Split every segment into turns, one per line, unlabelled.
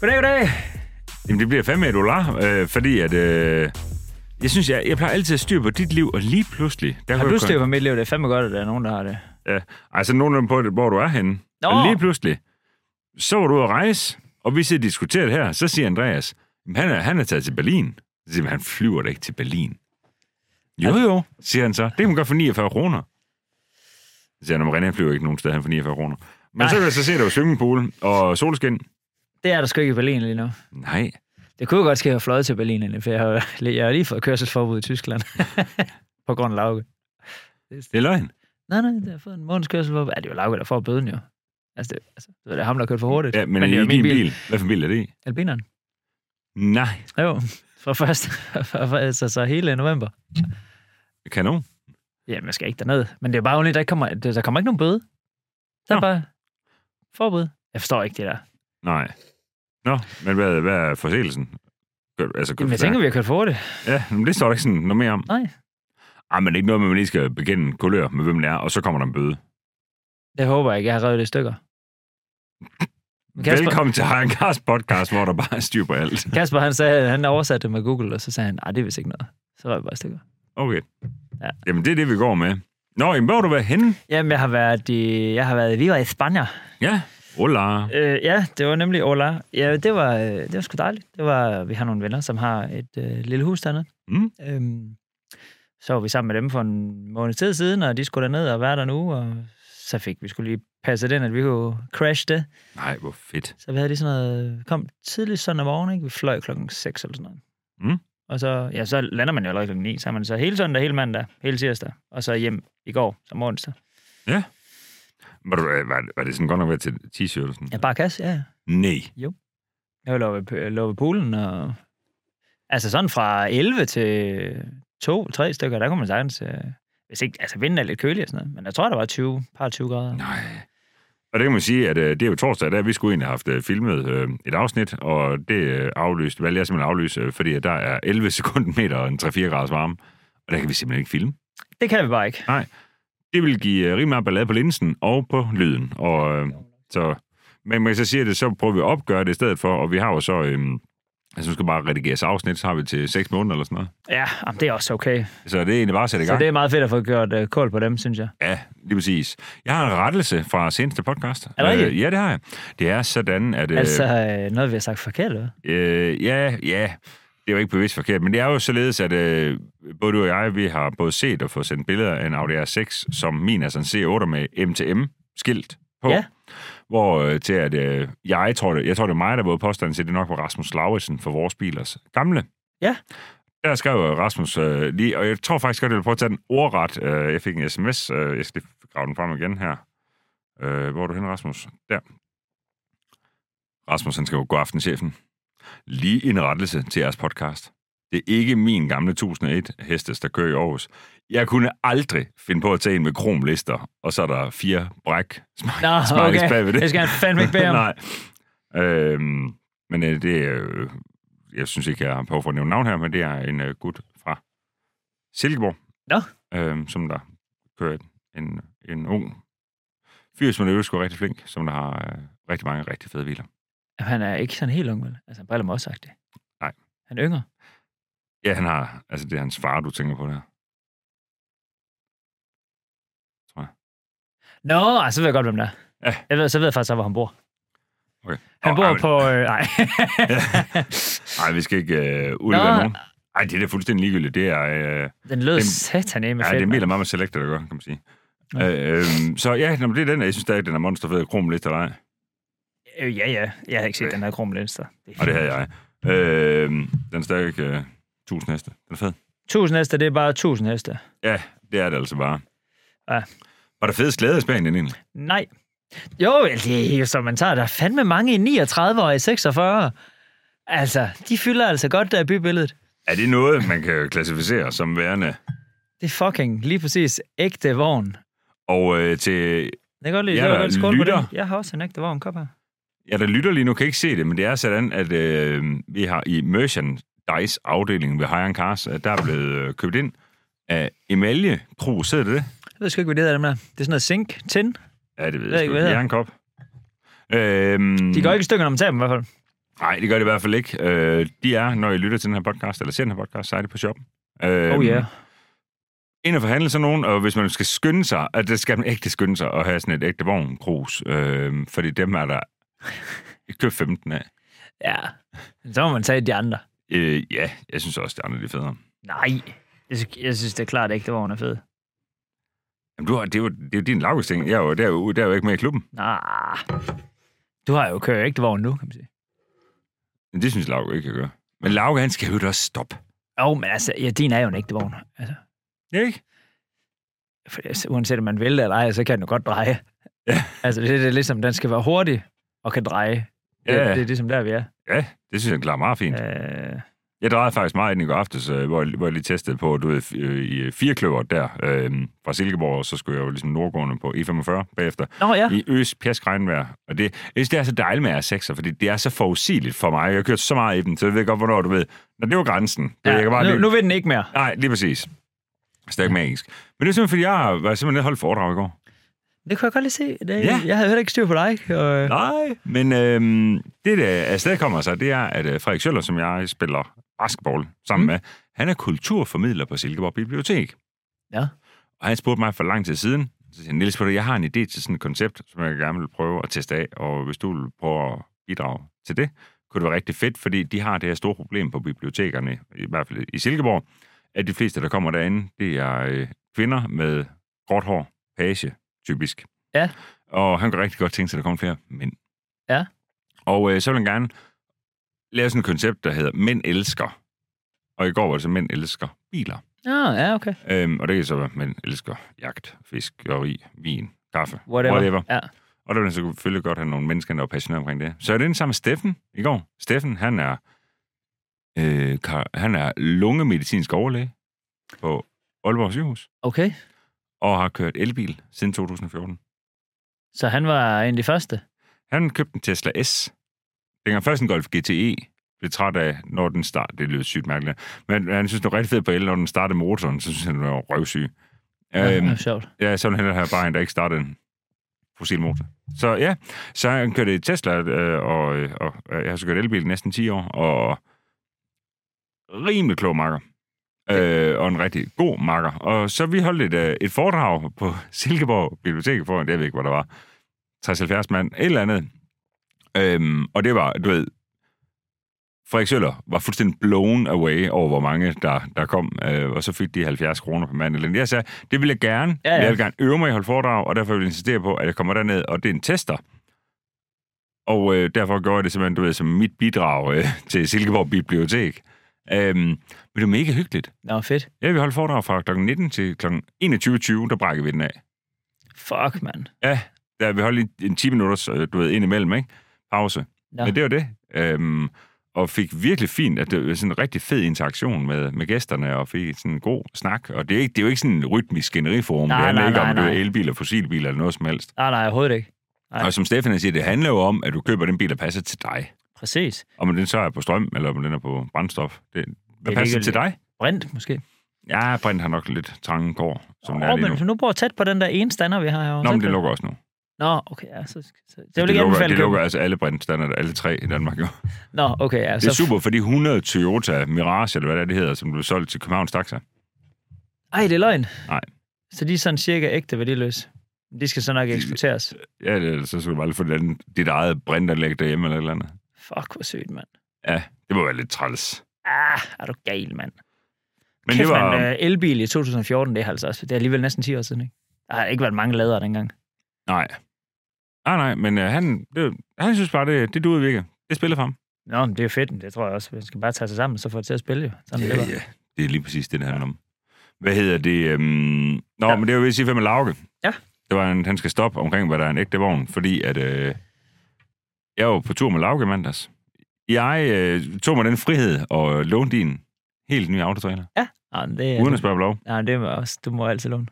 Goddag, goddag.
Jamen, det bliver fandme et olar, øh, fordi at... Øh, jeg synes, jeg, jeg plejer altid at styre på dit liv, og lige pludselig... Der
Har
kunne
du
jeg
styr på mit liv? Det er fandme godt, at der er nogen, der har det.
Ja. Altså, nogen på, hvor du er henne.
Nå.
Og lige pludselig, så var du ude at rejse, og vi sidder og diskuterer det her. Så siger Andreas, "Jamen, han er, han er taget til Berlin. Så siger vi, han flyver da ikke til Berlin. Jo,
Altså-
jo, siger han så. Det kan man gøre for 49 kroner. Så siger han, "Nå, men René han flyver ikke nogen steder, han for 49 kroner. Men
Nej.
så kan jeg så se, at der var swimmingpool og solskin.
Det er der sgu ikke i Berlin lige nu.
Nej,
Det kunne jo godt ske, at jeg har fløjet til Berlin, egentlig, for jeg har, jeg har lige fået kørselsforbud i Tyskland. på grund af Lauke.
det er løgn.
Nej, nej, jeg har fået en måneds kørselsforbud. Ja, det er jo Lauke, der får bøden jo. Altså, det, altså, det er ham, der kørte for hurtigt.
Ja, men,
det
men
er jo
i din bil. bil. Hvad for en bil er det i?
Albineren.
Nej,
Jo, fra først, fra, fra, altså, så hele november.
kanon.
Jamen, jeg skal ikke derned. Men det er bare ondt, der ikke kommer, der, der kommer ikke nogen bøde. Der er
Nå.
bare forbud. Jeg forstår ikke det der.
Nej. Nå, men hvad, hvad er forseelsen? Gør- Altså, gør
Jamen, jeg
for
tænker, vi har kørt for det.
Ja, men det står der ikke sådan noget mere om.
Nej.
Ej, men det er ikke noget med, at man lige skal begynde kulør med, hvem det er, og så kommer der en bøde.
Det håber jeg ikke. Jeg har revet det i stykker. Men
Kasper...
Kasper-
Velkommen til Hagen Kars podcast, hvor der bare er styr på alt.
Kasper, han sagde, han oversatte det med Google, og så sagde han, nej, det er vist ikke noget. Så røg jeg bare i stykker.
Okay.
Ja.
Jamen, det er det, vi går med. Nå, jamen, hvor har du været henne?
Jamen, jeg har været i, jeg har været, vi var i Spanien.
Ja. Hola.
Øh, ja, det var nemlig Ola. Ja, det var, øh, det var sgu dejligt. Det var, vi har nogle venner, som har et øh, lille hus dernede.
Mm.
Øhm, så var vi sammen med dem for en måned tid siden, og de skulle derned og være der nu, og så fik vi skulle lige passe den, at vi kunne crash det.
Nej, hvor fedt.
Så vi havde lige sådan noget, kom tidligt søndag morgen, ikke? vi fløj klokken 6 eller sådan noget.
Mm.
Og så, ja, så lander man jo allerede klokken 9, så er man så hele søndag, hele mandag, hele tirsdag, og så hjem i går, som onsdag.
Var, du, øh, var, var det sådan godt nok været til t-shirtelsen?
Ja, bare kasse, ja. ja.
Nej.
Jeg var lå ved, lå ved poolen, og... Altså sådan fra 11 til 2-3 stykker, der kunne man sagtens... Øh, hvis ikke, altså vinden er lidt kølig og sådan noget, men jeg tror, der var 20, par 20 grader.
Nej. Og det kan man sige, at øh, det er jo torsdag, der vi skulle egentlig have haft øh, filmet øh, et afsnit, og det øh, aflyst, valgte jeg simpelthen at aflyse, øh, fordi at der er 11 sekundmeter og en 3-4 graders varme, og der kan vi simpelthen ikke filme.
Det kan vi bare ikke.
Det vil give øh, rimelig meget ballade på linsen og på lyden. Og, øh, så, men man kan så sige det, så prøver vi at opgøre det i stedet for, og vi har jo så... Øh, altså, nu skal bare redigere afsnit, så har vi til 6 måneder eller sådan noget.
Ja, jamen, det er også okay.
Så det er egentlig bare at sætte i
Så
gang.
det er meget fedt at få gjort øh, kål på dem, synes jeg.
Ja, lige præcis. Jeg har en rettelse fra seneste podcast. Øh,
Er det rigtigt?
ja, det har jeg. Det er sådan, at... øh,
Altså, øh, noget vi har sagt forkert, eller hvad?
Øh, ja, ja. Det er jo ikke bevidst forkert, men det er jo således, at øh, både du og jeg, vi har både set og fået sendt billeder af en Audi R6, som min er sådan en C8 med MTM-skilt på.
Ja.
Hvor øh, til at, øh, jeg tror det, jeg tror det er mig, der vågede påstanden til, at det nok var Rasmus Lauritsen for vores bilers gamle.
Ja.
Der skrev Rasmus øh, lige, og jeg tror faktisk godt, jeg vil prøve at tage den ordret. Øh, jeg fik en sms, øh, jeg skal lige grave den frem igen her. Øh, hvor er du hen, Rasmus? Der. Rasmus, han skrev, god aften, chefen. Lige en rettelse til jeres podcast. Det er ikke min gamle 1001 hestes, der kører i Aarhus. Jeg kunne aldrig finde på at tage en med kromlister, og så er der fire bræk smiley,
Nå,
smileys
okay.
bagved det.
Det skal han fandme ikke bede om.
Nej. Øhm, men øh, det er... Øh, jeg synes ikke, jeg har behov for at nævne navn her, men det er en øh, gut fra Silkeborg.
Nå.
Øhm, som der kører en, en ung fyr, som er øvrigt sgu rigtig flink, som der har øh, rigtig mange rigtig fede biler.
Jamen, han er ikke sådan helt ung, vel? Altså, han briller mig også sagt det.
Nej.
Han er yngre.
Ja, han har... Altså, det er hans far, du tænker på der.
Nå, ej, så ved jeg godt, hvem der er.
Ja.
Jeg ved, så ved jeg faktisk, hvor han bor.
Okay.
Han
Nå,
bor
ej, men-
på... Øh, nej.
Nej, vi skal ikke øh, udlevere
Nå.
nogen. Nej, det er da fuldstændig ligegyldigt. Det er... Øh,
Den lød
Det-
sataneme
Ja,
fedt,
det er
mand.
Miller Mamma Selector, der gør, kan man sige.
Ja.
Øh, øhm, så ja, nå, men det er den, jeg synes stadig, den er monsterfed krom lidt eller ej.
Øh, ja, ja. Jeg havde ikke set den her krumlinster.
Og det havde jeg. Øh, den er stadig øh, 1000 heste. Den er fed.
1000 heste, det er bare 1000 heste.
Ja, det er det altså bare.
Ja.
Var der fedest glæde i Spanien egentlig?
Nej. Jo, det er jo, som man tager. Der er fandme mange i 39 og i 46. Altså, de fylder altså godt der i bybilledet.
Er det noget, man kan klassificere som værende?
Det er fucking lige præcis ægte vogn.
Og øh, til
Det er godt lide.
Ja,
det var
der
godt skål på
lytter.
det. Jeg har også en ægte vogn. Kom her.
Ja, der lytter lige nu, kan ikke se det, men det er sådan, at øh, vi har i merchandise-afdelingen ved Hejren Cars, at der er blevet øh, købt ind af emalje krus, hedder det det?
Jeg ved sgu ikke, hvad det hedder, dem der. Det er sådan noget zink, tin.
Ja, det ved
ved
jeg
ikke,
sgu ikke.
hvad det hedder.
Jernkop. Øhm,
De går ikke i stykker, når man tager dem i hvert fald.
Nej, det gør det i hvert fald ikke. Øh, de er, når I lytter til den her podcast, eller ser den her podcast, så er det på shoppen. Øh,
Oh ja. Yeah.
Ind og forhandle sådan nogen, og hvis man skal skynde sig, at det skal man ægte skynde sig at have sådan et ægte vognkrus, øh, fordi dem er der køb 15 af.
Ja. Men Så må man tage de andre.
Øh, ja, jeg synes også, det andre er lidt federe.
Nej. Jeg synes, jeg synes det er klart ikke, det var hun er fed.
Jamen, du har, det, er jo, det er jo din lavgårdsting. Jeg er jo, der, er jo, der er jo ikke med i klubben.
Nah. Du har jo kørt ikke vogn nu, kan man sige.
Men det synes Lauke ikke, jeg gør. Men Lauke, han skal jo da også stoppe.
Jo, oh, men altså, ja, din er jo en ægte vogn. Altså,
Ja, ikke?
for, altså, uanset om man vil det eller ej, så kan den jo godt dreje.
Ja.
Altså, det, det er ligesom, den skal være hurtig og kan dreje. Det,
Ja.
det er ligesom der, vi er.
Ja, det synes jeg klarer meget fint. Ja.
Øh,
Jeg drejede faktisk meget ind i går aftes, øh, hvor, jeg, hvor jeg lige testede på, du ved, f- øh, i firekløver der øh, fra Silkeborg, og så skulle jeg jo ligesom nordgående på E45 bagefter.
nå ja,
I øs pjask regnvejr. Og det, jeg synes, det er så dejligt med R6'er, fordi det er så forudsigeligt for mig. Jeg har kørt så meget i dem, så jeg ved godt, hvornår du ved. Når det var grænsen. Du ved,
ja
jeg kan bare
nu,
lige-
nu vil den ikke mere.
Nej, lige præcis. Stærk magisk. Men det er simpelthen, fordi jeg var simpelthen nede og holdt foredrag i går.
Det kunne jeg godt lige se. Det,
Ja.
ja. Jeg havde heller ikke styr på dig. Og,
Nej. Men øhm, det, der afsted kommer sig, det er, at øh, Frederik Schøller, som jeg spiller basketball sammen mm.
Mm.
med, han er kulturformidler på Silkeborg Bibliotek.
ja.
Og han spurgte mig for lang tid siden, så siger han, Niels, ved du, jeg har en idé til sådan et koncept, som jeg gerne vil prøve at teste af, og hvis du vil prøve at bidrage til det, kunne det være rigtig fedt, fordi de har det her store problem på bibliotekerne, i hvert fald i Silkeborg, at de fleste, der kommer derinde, det er øh, kvinder med gråt hår, page, typisk.
Ja.
Og han kunne rigtig godt tænke sig, at der kommer flere mænd.
Ja.
Og øh, så vil han gerne lave sådan et koncept, der hedder Mænd elsker. Og i går var det så Mænd elsker biler.
Ah, ja, okay.
Øhm, og det kan så være, man elsker jagt, fiskeri, vin, kaffe,
Whatever.
whatever.
Ja.
Og der vil jeg selvfølgelig godt have nogle mennesker, der er passionerede omkring det. Så jeg er den sammen med Steffen i går. Steffen, han er, øh, kar- han er lungemedicinsk overlæge på Aalborg sygehus,
Okay.
og har kørt elbil siden 2014.
Så han var en af de første.
Han købte en Tesla S. Dengang først en Golf GTE blev træt af, når den start. Det lyder sygt mærkeligt. Men han synes, det var rigtig fedt på el, når den startede motoren, så synes han, det var røvsyg. Øhm.
Ja, det var sjovt.
Ja, så vil han have bare en, der ikke startede en fossilmotor. Så ja, så han kørte i Tesla, øh, og, øh, og øh, jeg har så kørt elbil i næsten 10 år, og rimelig klog makker. Øh, og en rigtig god makker. Og så vi holdt et, øh, et foredrag på Silkeborg Bibliotek for, jeg ved ikke, hvor der var, 60-70 mand, et eller andet. Øhm, og det var, du ved, Frederik Søller var fuldstændig blown away over, hvor mange der, der kom, øh, og så fik de 70 kroner per mand. Eller andet. jeg sagde, det vil jeg gerne.
Ja, ja.
Jeg vil gerne øve mig i at holde foredrag, og derfor vil jeg insistere på, at jeg kommer derned, og det er en tester. Og øh, derfor gjorde jeg det simpelthen, du ved, som mit bidrag øh, til Silkeborg Bibliotek. Øhm, men det var mega hyggeligt.
Nå, fedt.
Ja, vi holdt foredrag fra kl. 19 til kl. 21.20, der brækkede vi den af.
Fuck, mand.
Ja, der, vi holdt lige en 10 minutters, øh, du ved, ind imellem, ikke? Pause.
Nå.
Men det var det. Øhm, og fik virkelig fint, at det var sådan en rigtig fed interaktion med, med gæsterne, og fik sådan en god snak. Og det er, ikke, det er jo ikke sådan en rytmisk generiforum.
Nej,
det handler
nej,
ikke
nej,
om, du
nej.
er elbiler, fossilbiler eller noget som helst.
Nej, nej, overhovedet ikke. Nej.
Og som Stefan han siger, det handler jo om, at du køber den bil, der passer til dig.
Præcis.
Om den så er på strøm, eller om den er på brændstof. Det, hvad
er
passer
ligegyldigt.
til dig?
Brint, måske. Ja,
Ja, Brint har nok lidt trange kår, som oh, det er
Åh,
lige nu.
men nu bor jeg tæt på den der ene stander, vi har herovre.
Nå, men
Tæt
det
på-
lukker også nu.
Nå, okay, ja, så, så det vil
Det
ikke
lukker,
anbefale
det
at købe.
lukker altså alle brintstander, alle tre i Danmark. Jo.
Nå, okay, ja,
Det er
så...
super, fordi 100 Toyota Mirage, eller hvad det, er, det hedder, som blev solgt til Københavns Taxa.
Ej, det er løgn.
Nej.
Så de er sådan cirka ægte værdiløse. De skal så nok eksporteres.
Ja, eller så skulle du bare lige få det andet, dit eget brintanlæg derhjemme eller et eller andet.
Fuck, hvor sødt, mand.
Ja, det må være lidt træls.
Ah, er du gal, mand.
Men
Kæft,
det var...
man, øh, elbil i 2014, det er altså også. Det er alligevel næsten 10 år siden, ikke? Der har ikke været mange ladere dengang.
Nej. Nej, nej, men øh, han, det, han synes bare, det, det duede virkelig. Det spiller for ham.
Nå, men det er fedt, det tror jeg også. Man skal bare tage sig sammen, så får det til at spille, jo. Sådan er det bare.
ja. Det er lige præcis det, det handler om. Hvad hedder det? Øhm... Nå,
Ja.
men det var ved at sige, hvem er Lauke?
Ja.
Det var, en, han skal stoppe omkring, hvad der er en ægte vogn, fordi at... Øh... Jeg var på tur med Lauke i mandags. Jeg øh, tog mig den frihed og lånte din helt nye autotrailer,
Nå, men det,
ja. uden at spørge om lov.
nej, det er også, du må altid låne.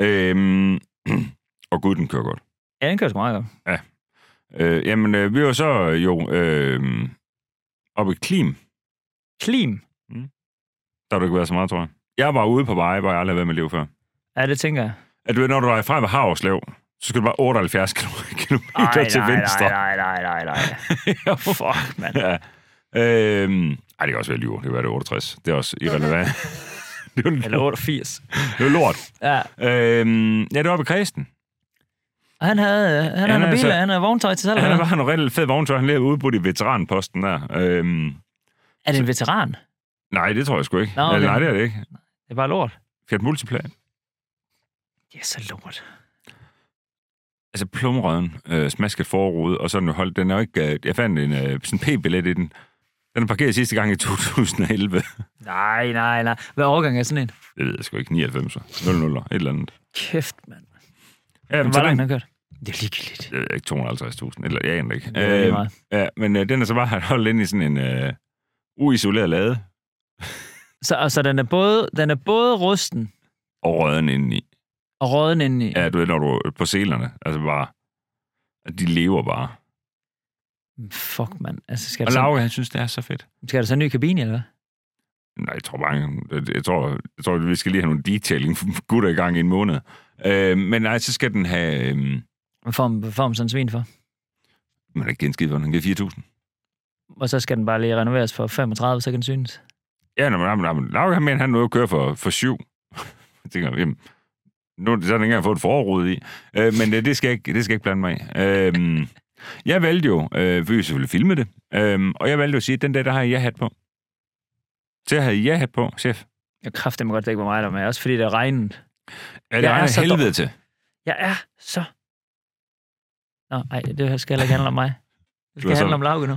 Øhm... og gud, den kører godt.
Ja, den kører sgu meget godt.
Øh, jamen, øh, vi var så øh, jo øh, oppe i Klim.
Klim.
Der har du ikke været så meget, tror jeg. Jeg var ude på veje, hvor jeg aldrig har været med liv før.
Ja, det tænker jeg.
At du ved, når du er fra ved Havslev, så skal du bare 78 km
Ej,
kilometer til
nej,
venstre.
nej, nej, nej, nej, nej. Fuck, mand.
Ja. Øhm, ej, det kan også være lyver. Det kan være det er 68. Det er også irrelevant. det er jo
Eller
lort.
88.
Det er jo lort.
Ja.
Øhm, ja, det var oppe i Kristen.
Og han havde, øh, han
Han
havde
er
biler,
altså-
han havde vogntøj til salg.
Han var en rigtig fed vogntøj. Han lige udbudt i veteranposten der. Øhm,
Er det en veteran?
nej, det tror jeg sgu ikke.
Nå,
Nå,
okay.
okay. Nej, det er det ikke.
Det er bare lort.
Fiat Multiplan.
Det er så lort.
Altså plumrøden, øh, smasket forrude, og sådan holdt den er jo ikke... Øh, jeg fandt en øh, sådan p-billet i den. Den er parkeret sidste gang i 2011.
Nej, nej, nej. Hvad årgang er sådan en?
Det ved jeg sgu ikke. 99'er, 00, et eller andet.
Kæft, mand.
Ja, men
Hvor
så den,
langt har han kørt? Det er ligegyldigt.
jeg ved ikke, 250.000, eller jeg aner det ikke.
Det er lige
Øh,
meget.
Ja, men øh, den er så bare holdt ind i sådan en øh, uisoleret lade
Så, og så den er både, den er både rusten
og røden indeni.
og råden indeni.
Ja, du ved, når du er på selerne. Altså bare, at de lever bare.
Fuck, mand. Altså, skal,
Og
der så,
Lauke, han synes, det er så fedt.
skal der så en ny kabine, eller hvad?
Nej, jeg tror bare, jeg- jeg tror, jeg tror, vi skal lige have nogle detailing gutter i gang i en måned. Øh, men nej, så skal den have... Øh,
Hvad får, man- hvad får man sådan en svin for?
man har ikke givet en skid for den. Den giver 4.000.
Og så skal den bare lige renoveres for 35, så kan den synes.
Ja, nej, men- nej, men- nej, men Lauke, han mener, han nåede at køre for, for syv. jeg tænker, jamen, nu er det sådan, ikke engang fået et forråd i. Øh, men det, det, skal jeg ikke, det skal jeg ikke blande mig i. Øh, jeg valgte jo, øh, for vi selvfølgelig filme det, øh, og jeg valgte jo at sige, at den dag, der har jeg hat på. Så jeg havde jeg hat på, chef.
Jeg kræfter mig godt, det ikke var mig, der var med. Også fordi det er regnet.
Er det
Jeg er
regner
så
helvede
dårlig.
til?
Jeg er så... Nå, nej, det her skal heller ikke handle om mig. Det
er
skal
så-
handle om Lauke nu.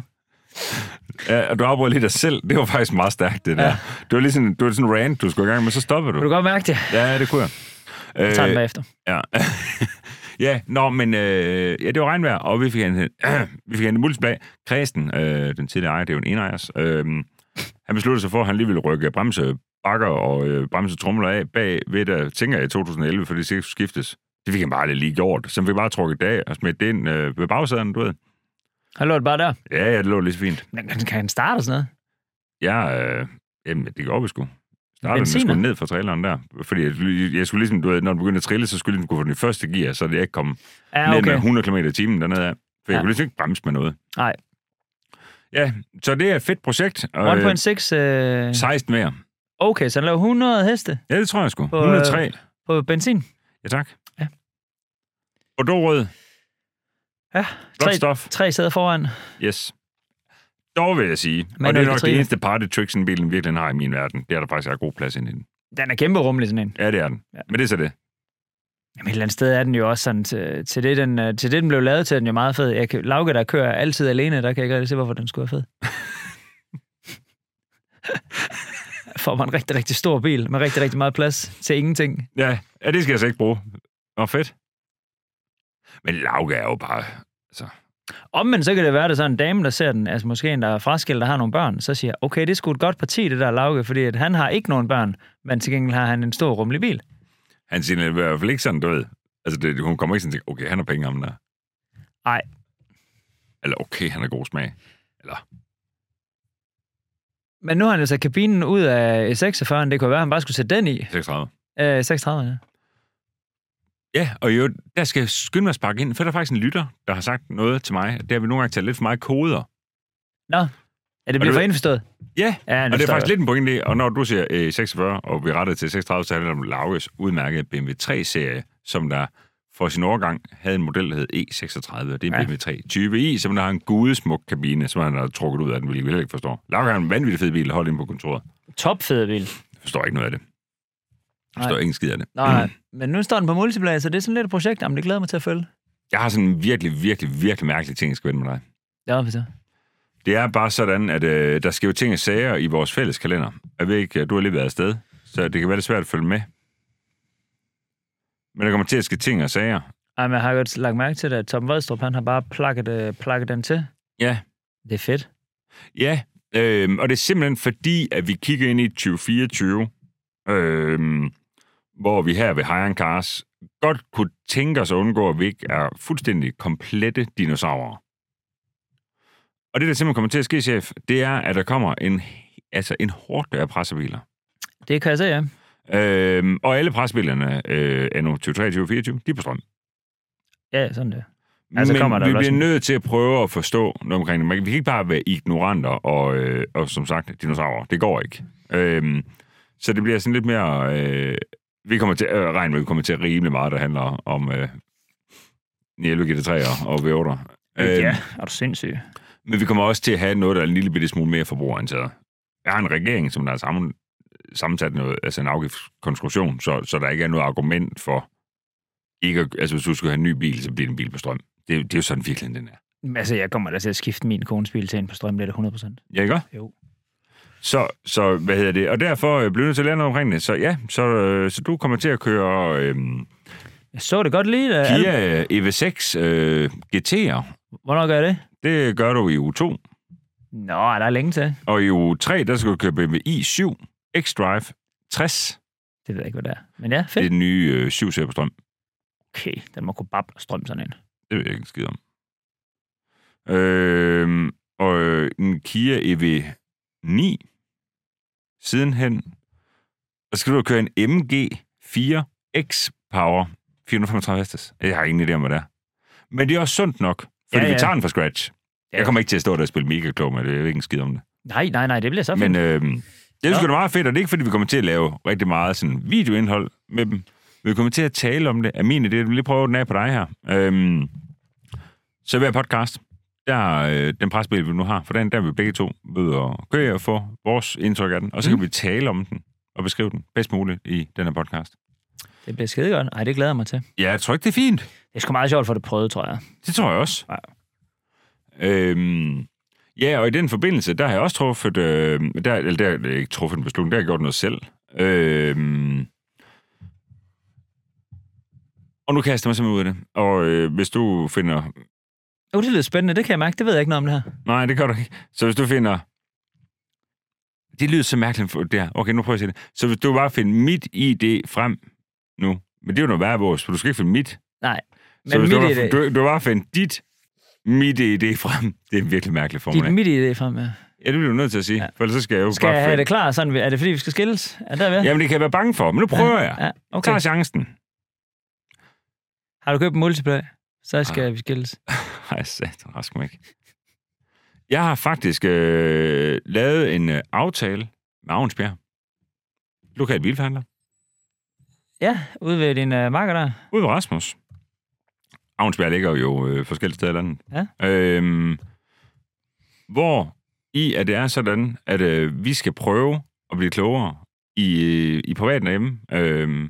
Ja, og du afbrød lidt dig selv. Det var faktisk meget stærkt, det der.
Ja.
Ja. Det var lige sådan, det var sådan en rant, du skulle i gang med, så stoppede
Kan du
du.
godt mærke det?
Ja, det kunne jeg. Øh,
Jeg tager den bagefter.
Ja. ja, nå, men øh, ja, det var regnvejr, og vi fik hentet, vi fik hentet multisplag. Kristen, øh, den tidligere ejer, det er jo en enejers, øh, han besluttede sig for, at han lige ville rykke bremsebakker og øh, bremsetrumler af bag ved der tænker jeg i 2011, for det sikkert skulle skiftes. Det fik han bare lidt lige gjort. Så han fik bare trukket det af og smidt det ind øh, ved bagsæden, du ved.
Han lå det bare der.
Ja, ja, det lå lige så fint.
Men kan, kan han starte og sådan noget?
Jeg, øh, jamen, det går vi sgu. Startede den
Benziner?
sgu ned fra traileren der. Fordi jeg, jeg skulle ligesom, du ved, når den begyndte at trille, så skulle den kunne få den i første gear, så det ikke kom
Ja,
ja, okay. ned med
okay.
100 km øh, i timen dernede af. For jeg
Ja.
kunne ligesom ikke bremse med noget.
Nej.
Ja, så det er et fedt projekt. Og, øh,
1.6... Øh...
16 mere.
Okay, så han laver 100 heste
Ja, det tror jeg sgu.
På,
103.
på benzin.
Ja, tak.
Ja.
Og du rød.
Ja,
Godt
tre-
stof.
Tre sæder foran.
Yes. Dog vil jeg sige,
Men
og det
det
er
er
nok det
Katrine.
eneste party trick, sådan bilen virkelig har i min verden. Det er der faktisk er god plads ind i den.
Den er kæmpe rummelig, sådan en.
Ja, det er den.
Ja.
Ja. Men det er så det.
Jamen, et eller andet sted er den jo også sådan, til, til, det, den, øh, til det, den blev lavet til, er den jo meget fed. Jeg kan, Lauke, der kører altid alene, der kan jeg ikke rigtig se, hvorfor den skulle være fed. Får man en rigtig, rigtig stor bil med rigtig, rigtig meget plads til ingenting.
Ja, ja det skal jeg så ikke bruge. Nå, fedt. Men Lauke er jo bare...
Om men så kan det være, at der er sådan en dame, der ser den, altså måske en, der er fraskilt, der har nogle børn, så siger, okay, det er sgu et godt parti, det der Lauke, fordi at han har ikke nogen børn, men til gengæld har han en stor rummelig bil.
Han siger i hvert fald ikke sådan, du ved. Altså, det, hun kommer ikke sådan til, okay, han har penge om der.
Nej,
Eller okay, han har god smag. Eller,
men nu har han altså kabinen ud af 46, det kunne være, at han bare skulle sætte den i.
36.
Øh, 36, ja.
Ja, og jo, der skal jeg skynde mig at sparke ind, for der er faktisk en lytter, der har sagt noget til mig. Det har vi nogle gange taget lidt for meget koder.
Ja, det
Og du
bliver for
ved-
indforstået.
Ja,
Ja,
og det er
forstår
faktisk
jeg.
lidt en pointe i, og når du siger øh, 46, og vi rettede til 36, så handler det om Lauges udmærkede BMW 3-serie, som der for sin overgang havde en model, der hed E36, og det er en
Ja.
ja. BMW 3 type i, som der har en gudesmuk kabine, som han har trukket ud af den, hvilket vi heller ikke forstår. Lauge har en vanvittig fed bil, holdt ind på kontoret.
Topfed bil.
Jeg forstår ikke noget af det. Jeg
Nej.
forstår ikke en skid af det. Mm.
Nej, nej. Men nu står den på multiplayer, så det er sådan lidt et projekt. Jamen, det glæder jeg mig til at følge.
Jeg har sådan en virkelig, virkelig, virkelig mærkelig ting, jeg skal vende med dig.
Ja, for så.
Det er bare sådan, at øh, der sker jo ting og sager i vores fælles kalender. Jeg ved ikke, øh, du har lige været afsted, så det kan være lidt svært at følge med. Men der kommer til at ske ting og sager.
Ej, men jeg har godt lagt mærke til det, at Tom Vadstrup, han har bare plakket, øh, plakket den til.
Ja.
Det er fedt.
Ja, øh, og det er simpelthen fordi, at vi kigger ind i 2024, øh, hvor vi her ved Hejren Cars godt kunne tænke os at undgå, at vi ikke er fuldstændig komplette dinosaurer. Og det, der simpelthen kommer til at ske, chef, det er, at der kommer en, altså en hårdt af pressebiler.
Det kan jeg se, ja.
Øhm, og alle presbilerne øh, er nu 2023-2024, de er på strøm.
Ja, sådan det.
Ja,
Altså,
men
kommer der
vi
vel også
bliver
en-
nødt til at prøve at forstå noget omkring det. Man kan- Vi kan ikke bare være ignoranter og, øh, og som sagt, dinosaurer. Det går ikke. Øhm, så det bliver sådan lidt mere... Øh, vi kommer til øh, regne med, at vi kommer til at rimelig meget, der handler om øh, 11 GT3'er og V8'er.
Øh, ja, er du sindssyg.
Men vi kommer også til at have noget, der er en lille bitte smule mere forbrugerienteret. Jeg har en regering, som der er sammen, sammensat noget, altså en afgiftskonstruktion, så, så der ikke er noget argument for ikke at, altså hvis du skal have en ny bil, så bliver det en bil på strøm. Det, det er jo sådan virkelig, den er.
Men Altså, jeg kommer da til at skifte min kones bil til en på strøm, det er det 100 procent.
Ja, ikke? også?
Jo.
Så, så hvad hedder det? Og derfor øh, blev du nødt til at lære noget omkring det. Så ja, så, øh, så du kommer til at køre øh,
Jeg så det godt lige. Da, Al-
Kia EV6 øh, GT'er.
Hvornår gør jeg det?
Det gør du i uge 2.
Nå, der er længe til.
Og i uge 3, der skal du køre BMW i7 X-Drive 60.
Det ved jeg ikke, hvad det er. Men ja,
Det er
fedt.
den nye øh, 7 på strøm.
Okay, den må kunne bab og strøm sådan ind.
Det ved jeg ikke en skid om. Øh, og øh, en Kia EV9 sidenhen. Og så skal du køre en MG4 X Power 435 hestes. Jeg har ingen idé om, hvad det er. Men det er også sundt nok, fordi
Ja,
ja, ja.
ja.
vi tager den fra scratch.
Ja,
Jeg kommer ikke til at stå der og spille mega klog med det. Jeg ved ikke en skid om det.
Nej, nej, nej, det bliver så fedt.
Men øh, det er
Ja.
sgu da meget fedt, og det er ikke, fordi vi kommer til at lave rigtig meget sådan videoindhold med dem. Vi kommer til at tale om det. Amin, det vil lige prøve den af på dig her. Øhm, så hver podcast, der øh, den presbil, vi nu har, for den der er vi begge to ved at køre og få vores indtryk af den, og så kan vi tale om den og beskrive den bedst muligt i den her podcast. øh-
Det bliver skide godt. Ej, det glæder jeg mig til.
Ja, jeg tror ikke, det er fint.
Det er sgu meget sjovt for det prøvet, tror jeg.
Det tror jeg også.
Ja.
Øhm, ja, og i den forbindelse, der har jeg også truffet, øh, der, eller der, der er ikke truffet en beslutning, der har jeg gjort noget selv. Øhm, og nu kaster jeg mig simpelthen ud af det. Og øh, hvis du finder...
Uh, det lyder spændende. Det kan jeg mærke. Det ved jeg ikke noget om det her.
Nej, det gør du ikke. Så hvis du finder... Det lyder så mærkeligt for det her. Okay, nu prøver jeg at sige det. Så hvis du bare finder mit ID frem nu, men det er jo noget værre vores, for du skal ikke finde mit.
Nej. Men
så hvis
mit
du,
idé,
bare, du, du bare finder dit mit ID frem, det er en virkelig mærkelig formulering.
dit, mit idé frem med.
Ja, det bliver du nødt til at sige, ja.
Ja.
for ellers så skal jeg jo
Skal
bare...
jeg have
finde-
det klar? Sådan, er det fordi, vi skal skilles? Er der ved?
Jamen, det kan jeg være bange for, men nu prøver jeg.
Ja,
Jeg
okay.
tager chancen.
Har du købt en multiplay? Så skal vi skilles.
Ej, satan, rask mig ikke. Jeg har faktisk øh, lavet en øh, aftale med Avnsbjerg. Lokal bilforhandler.
Ja, ude ved din uh, marker der.
Ude ved Rasmus. Avnsbjerg ligger jo øh, forskellige steder i landet. Ja. Øhm, hvor i, at det er sådan, at øh, vi skal prøve at blive klogere i, i privaten derhjemme øh,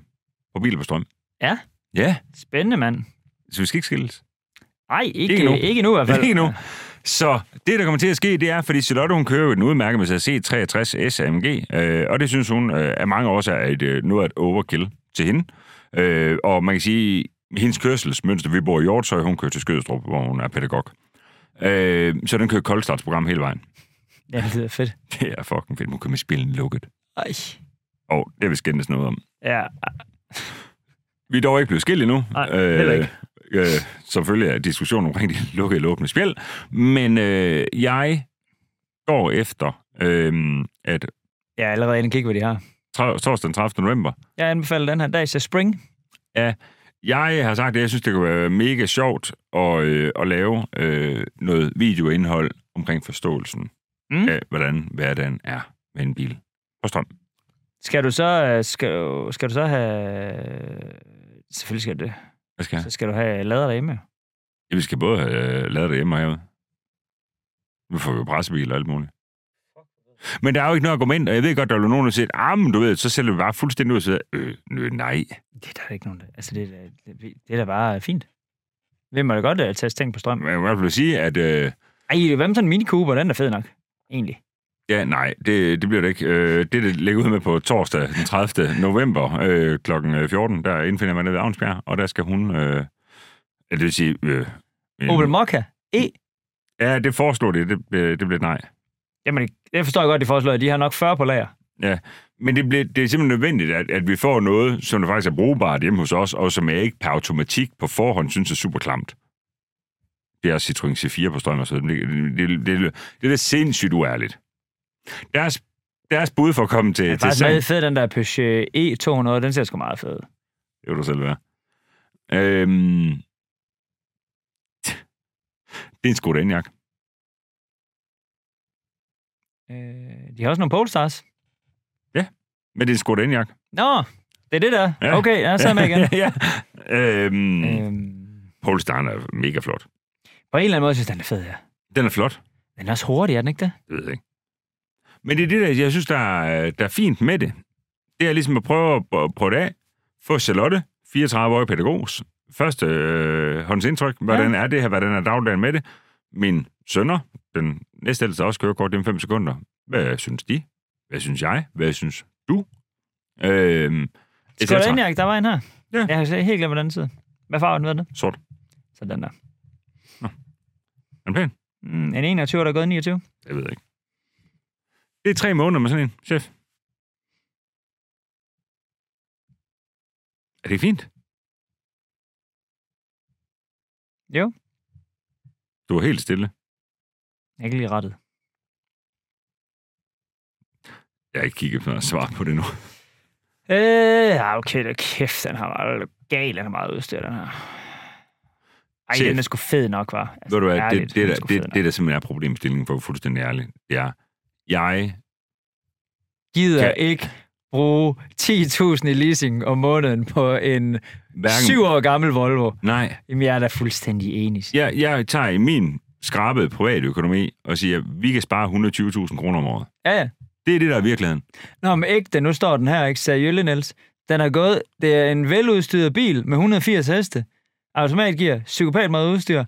på biler på strøm.
Ja.
Ja,
Spændende, mand.
så vi skal ikke skilles.
Nej, ikke,
Ikke
ikke,
endnu.
nu. ikke nu i hvert fald.
Ikke nu. Så det, der kommer til at ske, det er, fordi Charlotte, hun kører jo den udmærket med sig C63 SAMG, øh, og det synes hun øh, af mange årsager er et, øh, noget af et overkill til hende. Øh, og man kan sige, hendes kørselsmønster, vi bor i Hjortøj, hun kører til Skødestrup, hvor hun er pædagog. Øh, så den kører koldstartsprogram hele vejen.
Ja, det er fedt.
Det er fucking fedt, hun kører med spillen lukket.
Ej.
Og det vil skændes noget om.
Ja,
Vi er dog ikke blevet skilt endnu.
Nej, heller ikke.
Øh, selvfølgelig er diskussionen omkring de lukkede eller åbne spjæld. Men øh, jeg går efter, øh, at
jeg er allerede inde og kigge, hvad de har.
tra- torsdag den 30. november,
Jeg anbefaler den her Dacia Spring.
jeg har sagt, at jeg synes, det kunne være mega sjovt at, øh, at lave øh, noget videoindhold omkring forståelsen
Mm.
af, hvordan hverdagen er med en bil på strøm.
Skal du så, øh, skal, du- skal du så have... Selvfølgelig skal du det.
Hvad skal
Ja.
jeg?
Så skal du have lader derhjemme.
Ja, Vi skal både have øh, lavet det hjemme og herude. Nu får vi jo pressebil og alt muligt. Men der er jo ikke noget argument, og jeg ved godt, der er jo nogen, der siger, ah, men du ved, så sælger vi bare fuldstændig ud og siger, øh, nø, nej.
Det er der ikke nogen, der... Altså, det er, da- det, det er da bare fint. Hvem må da godt uh, tage ting på strøm?
Man kan i hvert fald sige, at øh,
Ej, hvad med sådan en Mini Cooper? Den er fed nok, egentlig.
ja, nej, det, det bliver det ikke. Øh, det, det ligger ud med på torsdag den 30. november øh, kl. 14, der indfinder man det ved Avnsbjerg, og der skal hun, øh, eller det vil sige... Øh, en-
Opel Mokka E.
Ja, det foreslog det, det, øh, det blev et nej.
Jamen, det forstår jeg godt, de foreslår. De har nok 40 på lager.
Men det, bliver, det er simpelthen nødvendigt, at, at vi får noget, som der faktisk er brugbart hjemme hos os, og som jeg ikke per automatik på forhånd synes er super klamt. Det er Citroën C4 på strøm og så videre. Det, det, det, det, det er da sindssygt uærligt. Deres, deres bud for at komme til,
Det
ja,
er
til
faktisk
sagen,
meget fed, den der Peugeot E E200. Den ser sgu meget fed. ud.
det vil du selv være. Øhm, Det er en Skoda Enyaq.
Øh, de har også nogle Polestars.
Men det er en Skoda Enyaq.
Nå, det er det der.
Ja.
Ja. Okay, ja, så er jeg med igen.
ja. Øhm, øh.
øhm,
Polestar'en er mega flot.
på en eller anden måde synes jeg, den er fed, ja.
Den er flot.
Den er også hurtig, er den ikke det?
Det ved jeg ikke. Men det er det, der, jeg synes, der er, der er fint med det. Det er ligesom at prøve at at prøve det af. Få Charlotte, 34-årig pædagogos, første øh, håndsindtryk. Hvordan er det her? Hvordan er dagligdagen med det? Min sønner, den næste ældste, der også kører kort, det er om fem sekunder. Hvad synes de? Hvad synes jeg? Hvad synes du? Øh, et
Skal du
cetera.
der var en her?
Ja.
Jeg har slet- helt glemt, hvordan den sidder. Hvad farve den ved det?
Sort.
Så den der.
Er den pæn?
Mm, en 21, der er gået 29.
Jeg ved ikke. Det er tre måneder med sådan en, chef. Er det ikke fint?
Jo.
Du er helt stille.
Jeg er ikke lige rettet.
Jeg har ikke kigget på noget svar på det nu.
Øh, ja, okay, da kæft, den har været gal, den har meget udstyr, den her. Ej,
Chef.
den er sgu fed nok, var. Altså,
Ved du hvad,
ærligt,
det, det,
den er
der,
sgu fed
det,
nok.
det der simpelthen er problemstillingen for at være fuldstændig ærlig, det er, jeg
gider
kan-
ikke bruge 10.000 i leasing om måneden på en
hverken...
syv år gammel Volvo.
Nej,
Jamen, jeg er da fuldstændig enig.
jeg, jeg tager i min skrabede privatøkonomi og siger, at vi kan spare 120.000 kroner om året.
Ja, ja.
Det er det, der er virkeligheden.
Nå, men ikke den. Nu står den her, ikke? Seriølle, Niels. Den er gået. Det er en veludstyret bil med 180 heste. Automatgear. Psykopat meget udstyr.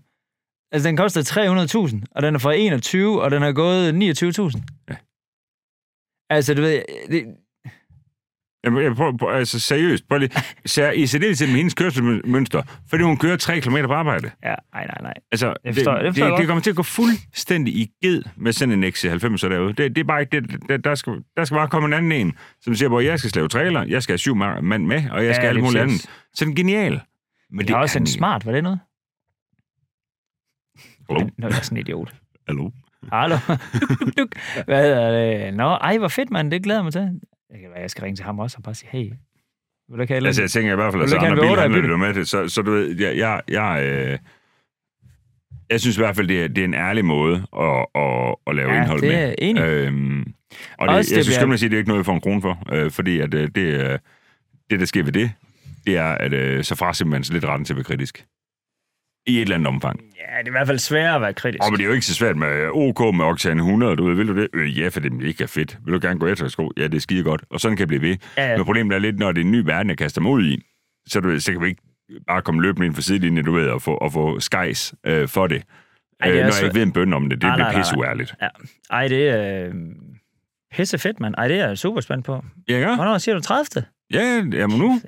Altså, den koster 300.000, og den er fra 21, og den har gået 29.000.
Ja.
Altså, du ved, det,
Jamen, Jeg prøver, prøver, altså seriøst, prøv lige. Sær, I særdeleshed med hendes kørselsmønster, fordi hun kører 3 km på arbejde.
ja, nej, nej, nej.
Altså,
Jeg forstår- jeg
det,
forstår
det,
godt.
det, kommer til at gå fuldstændig i ged med sådan en XC90 derude. Det, det er bare ikke det. Der, der, skal, der skal bare komme en anden en, som siger, hvor jeg skal slave trailer, jeg skal have syv ma- mand med, og jeg skal
Ja,
alt
lige
muligt
præcis.
andet. Så den er genial. Men
Det er også en
den ikke.
smart, var det noget?
Hallo?
Nå, jeg er sådan en idiot.
Hallo?
Hallo. Duk, duk. Hvad er det? Nå, ej, hvor fedt, mand. Det glæder jeg mig til. Det kan være, jeg skal ringe til ham også og bare sige, hey, vil du ikke have
Altså,
altså,
jeg tænker i hvert fald, at
Vil
så
du ikke have
andre
en V8
biler handler
i byen?
det med det. Så, så du ved, jeg, jeg, jeg, øh, jeg synes i hvert fald, det er, det er en ærlig måde at, at, at lave
Ja,
indhold
det
med.
er jeg enig.
Øhm, og det,
Også
jeg
det
synes
bliver-
skønt at sige, at det er ikke noget, vi får en krone for. Øh, fordi at, øh, det, øh, det, der sker ved det, det er, at øh, så fra simpelthen lidt retten til at være kritisk. I et eller andet omfang.
Ja, det er i hvert fald svært at være kritisk.
Og men det er jo ikke så svært med øh, OK med Octane 100, du ved, vil du det? Øh, ja, for det er mega fedt. Vil du gerne gå efter sko? Ja, det er skide godt. Og sådan kan det blive ved.
Ja,
Men problemet er lidt, når det er en ny verden, jeg kaster mig ud i, så, du ved, så kan vi ikke bare komme løbende ind for sidelinjen, du ved, og få, og få skejs øh, for det.
Ej,
Ej,
det
det
er
øh, når
også-
jeg ikke ved en bøn om det, det
Nej,
nej,
nej,
bliver
nej, nej.
pisseuærligt.
ja. Ej, det er øh, pisse fedt, mand. Ej, det er jeg super spændt på.
Ja, ja,
Hvornår siger du 30?
ja, jamen nu.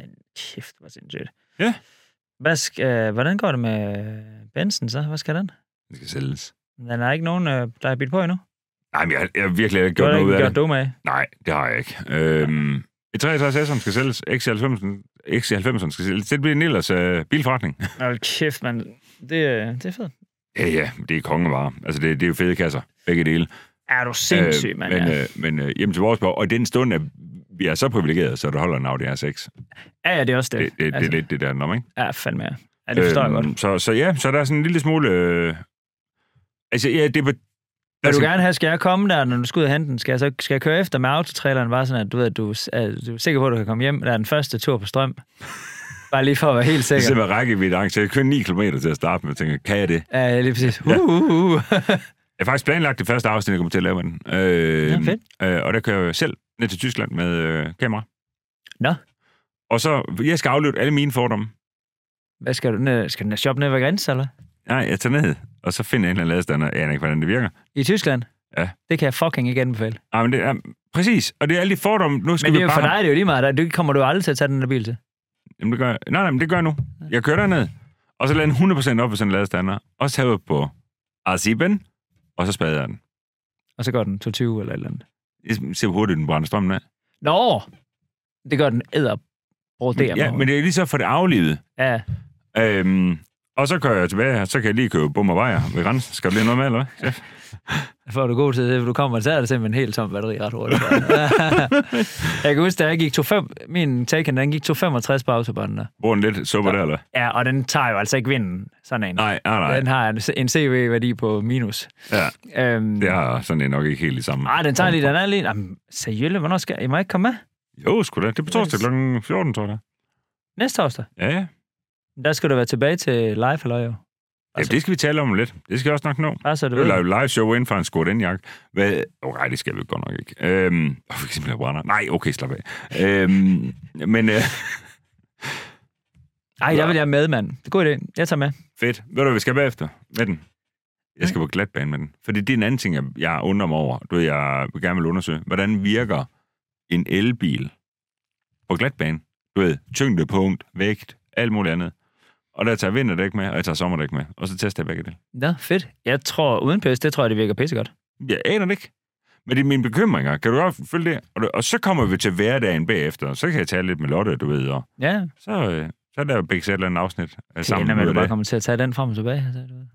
Kæft, hvor sindssygt.
Ja.
Hvad skal, øh, hvordan går det med Benson så? Hvad skal den?
Det skal sælges.
Den er ikke nogen, øh, der er bidt på endnu.
Nej, men jeg, jeg har virkelig ikke
Du
gjort
har
noget ud
ikke
af det.
gjort dum af.
Nej, det har jeg ikke. Øhm, et 63 som skal sælges. XC90'en XC90'en skal sælges. Det bliver Nillers øh, bilforretning.
Hold kæft, mand. Det, øh, det er fedt.
ja, ja, det er kongevarer. Altså, det, det er jo fede kasser. Begge dele.
Er du sindssyg,
Øh,
mand?
Men,
ja.
øh, men øh, hjem til vores bog. Og i den stund, at vi er så privilegerede, så der holder en Audi R6.
Ja, ja, det er også det.
Det, det, altså. det, det, det der er den om, ikke?
Ja, fandme ja. Ja, det forstår øhm, jeg godt.
Så, så ja, så der er sådan en lille smule... Øh, altså, ja, det altså, var...
Vil du
skal-
gerne have, skal jeg komme der, når du skal ud og hente den? Skal jeg, så, skal jeg køre efter med autotraileren, bare sådan, at du, ved, at du, er, du er sikker på, at du kan komme hjem? Der er den første tur på strøm. Bare lige for at være helt
Det er
sikker.
simpelthen rækkevidde angst. Jeg kører 9 km til at starte med, og tænker, kan jeg det?
Ja, lige præcis. Uh, uh, uh.
Jeg har faktisk planlagt det første afsnit, jeg kommer til at lave med den. Øh,
Ja, fedt.
Øh, og der kører jeg selv ned til Tyskland med øh, kamera.
Nå.
Og så, jeg skal afløbe alle mine fordomme.
Hvad skal du ned? Skal du ned shoppe ned ved grænsen, eller?
Nej, jeg tager ned, og så finder jeg en eller anden ladestander. Jeg aner ikke, hvordan det virker.
I Tyskland?
Ja.
Det kan jeg fucking ikke anbefale.
Ah, men det er, præcis, og det er alle de fordomme. Nu skal
Men det er
vi
jo
bare
for dig, det er jo lige meget. Der- Det kommer du jo aldrig til at tage den der bil til.
Jamen, det gør jeg. Nej, nej, men det gør jeg nu. Jeg kører derned. Og så lader den 100% op på sådan en ladestander. Og så tager jeg ud på Arziben, og så spader jeg den.
Og så går den 220 eller et eller andet.
Jeg ser hvor hurtigt, den brænder strømmen af.
Nå! Det gør den æder.
Men, ja, men det er lige så for det aflivet.
ja.
Øhm, Og så kører jeg tilbage, og så kan jeg lige købe bum og vejer ved grænsen. Skal du lige have noget med, eller hvad? chef?
For er du god til det, for du kommer, så er der simpelthen helt tom batteri ret hurtigt. jeg kan huske, da jeg gik 25, min Taken, den gik 265 på autobahn der.
Bruger den lidt suppe der, eller?
Ja, og den tager jo altså ikke vinden, sådan en.
Nej, nej, nej.
Den har en, en CV-værdi på minus.
Ja,
Øhm,
det har sådan en nok ikke helt i samme.
Ej, den tager lige, den er lige... Jamen, seriølle, hvornår skal jeg? I må ikke komme med
Jo, sgu da. Det er på torsdag kl. 14, tror jeg.
næste torsdag.
Ja, ja.
Der skal du være tilbage til live, eller jo? Altså-
Jamen, det skal vi tale om lidt. Det skal jeg også nok nå.
Bare så du
Det
ved.
er jo live show inden for en skurt indjakke. Hvad? Oh, nej, det skal vi godt nok ikke. Øhm, oh, vi kan simpelthen brænder. Nej, okay, slap af. Øhm, men øh,
Ej, der vil jeg med, mand. God idé. Jeg tager med.
fedt. Ved du, hvad vi skal bagefter med den? Jeg skal på glatbane med den. Fordi det er en anden ting, jeg, jeg undrer mig over. Du ved, jeg vil gerne vil undersøge. Hvordan virker en elbil på glatbane? Du ved, tyngdepunkt, vægt, alt muligt andet. Og der tager vinterdæk med, og jeg tager sommerdæk med. Og så tester jeg begge dele.
Ja, fedt. Jeg tror, uden pis, det tror jeg, det virker pissegodt.
Jeg aner det ikke. Men det er mine bekymringer. Kan du godt følge det? Og, det- og så kommer vi til hverdagen bagefter. Så kan jeg tale lidt med Lotte, du ved. Og
Ja,
så, øh, så laver vi begge et eller andet afsnit af
det ender
sammen
med,
med
at du bare
det.
kommer til at tage den frem og tilbage. altså, du ved.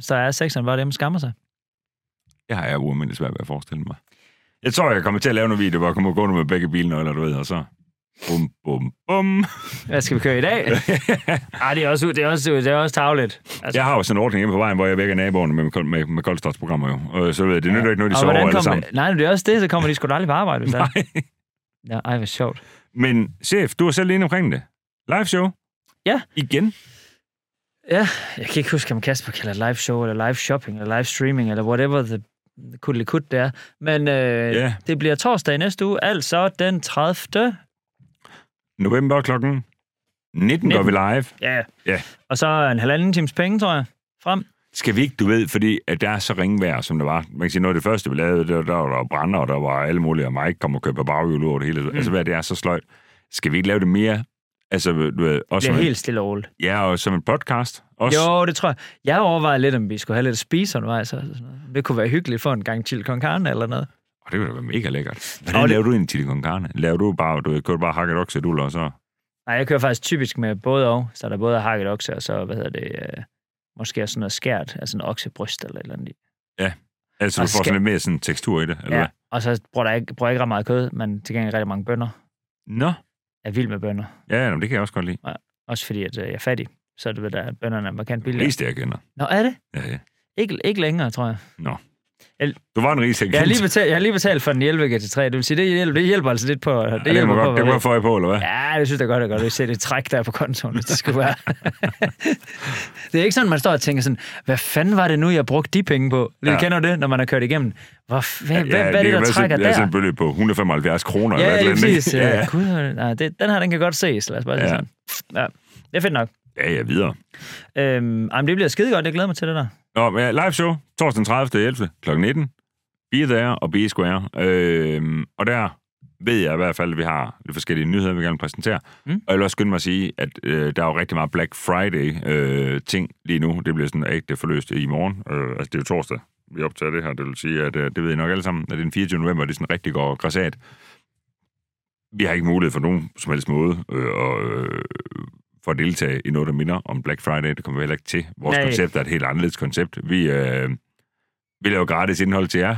Så er sexen bare dem, skammer sig.
Det har jeg ualmindeligt svært ved at forestille mig. Jeg tror, jeg kommer til at lave nogle videoer, hvor jeg kommer gående med begge bilnøgler, du ved, og så... Bum, bum, bum.
Hvad skal vi køre i dag? Ej, det er også, det er også, det er også tavligt. Altså,
Jeg har jo sådan en ordning hjemme på vejen, hvor jeg vækker naboerne med, med, med, med koldstartsprogrammer jo. Og så ved jeg, det nytter ikke noget, de sover
hvordan
alle
kommer,
sammen.
nej, men det er også det, så kommer de sgu da aldrig på arbejde. Hvis Nej. Ja, ej, hvor sjovt.
Men chef, du er selv inde omkring det. Live show.
Ja.
Igen.
Jeg kan ikke huske, om Kasper kalder det live show, eller live shopping, eller live streaming, eller whatever the kuddelikut det er. Men øh,
Ja.
det bliver torsdag i næste uge, altså den 30.
November klokken 19 går vi live.
Ja.
Ja.
Og så en halvanden times penge, tror jeg, frem.
Skal vi ikke, du ved, fordi at der er så ringvejr, som der var. Man kan sige, noget af det første, vi lavede, der, der var der brænder, og der var alle mulige, og Mike kom og købte baghjul over det hele. Mm. Altså, hvad det er så sløjt. Skal vi ikke lave det mere? Altså, du ved,
Det
også
bliver
som,
helt stille og roligt.
En, ja, og som en podcast. Også.
Jo, det tror jeg. Jeg overvejede lidt, om vi skulle have lidt at spise undervejs. Og sådan noget. Det kunne være hyggeligt for en gang til con carne eller noget.
Og det ville da være mega lækkert. Hvordan
Og det-
laver du en chili con carne? Laver du bare, du ved, kører du bare hakket okseduller, og så...
Nej, jeg kører faktisk typisk med både og. Så er der både hakket okse, og så, hvad hedder det, øh, måske også sådan noget skært, altså en oksebryst eller et eller andet. i.
Altså, du får
Og skal-
sådan lidt mere sådan tektur i det, eller
Ja,
hvad?
og så bruger jeg ikke, bruger jeg ikke ret meget kød, men til gengæld rigtig mange bønder.
Nå,
Jeg er vild med bønder.
ja, jamen, det kan jeg også godt lide.
Også fordi, at øh, jeg er fattig. Så du ved da, at bønderne er markant
Det
billigere.
rigeste, jeg kender.
Nå, er det?
Ja, ja.
Ikke, ikke længere, tror jeg.
Du var en rigeste, jeg
Jeg har
kendte.
lige betalt, jeg har lige betalt for den 11 GT3. Det vil sige, det hjælper, det hjælper altså lidt på... Det,
Ja, det, må
hjælper på,
godt, det
hvad
må jeg få øje på, eller hvad?
Ja, det synes jeg godt, det er godt. Du ser det træk der er på kontoen, hvis det skulle være. det er ikke sådan, man står og tænker sådan, hvad fanden var det nu, jeg brugte de penge på? Lige
Ja.
ja. kender du det, når man har kørt igennem? Hvor, f- hvad, ja, hvad, hvad er det,
kan
der
være
trækker
sådan,
der?
Ja, sådan et beløb på 175 kroner.
ja,
eller et
ja,
eller andet, ikke?
præcis.
Ja,
Ja.
ja.
Gud, nej, det, den her, den kan godt ses. Lad os bare sige
Ja.
sådan. Ja, det er fedt nok.
Ja, ja, videre.
Øhm, ej, men det bliver skide godt. Jeg glæder mig til det der.
Nå, men ja, live show, torsdag den 30. 11. kl. 19. Be there og be square. Øhm, og der ved jeg i hvert fald, at vi har lidt forskellige nyheder, vi gerne vil præsentere. Mm.
Mm.
Og jeg vil også skynde mig at sige, at øh, der er jo rigtig meget Black Friday-ting øh, ting lige nu. Det bliver sådan ægte forløst i morgen. Øh, altså, det er jo torsdag, vi optager det her. Det vil sige, at øh, det ved I nok alle sammen, at det er den 24. november, det er sådan rigtig godt græsat. Vi har ikke mulighed for nogen som helst måde øh, og, øh, for at deltage i noget, der minder om Black Friday. Det kommer vi heller ikke til. Vores Nej.
Nej.
koncept er et helt anderledes koncept. Vi, øh, vi laver gratis indhold til jer,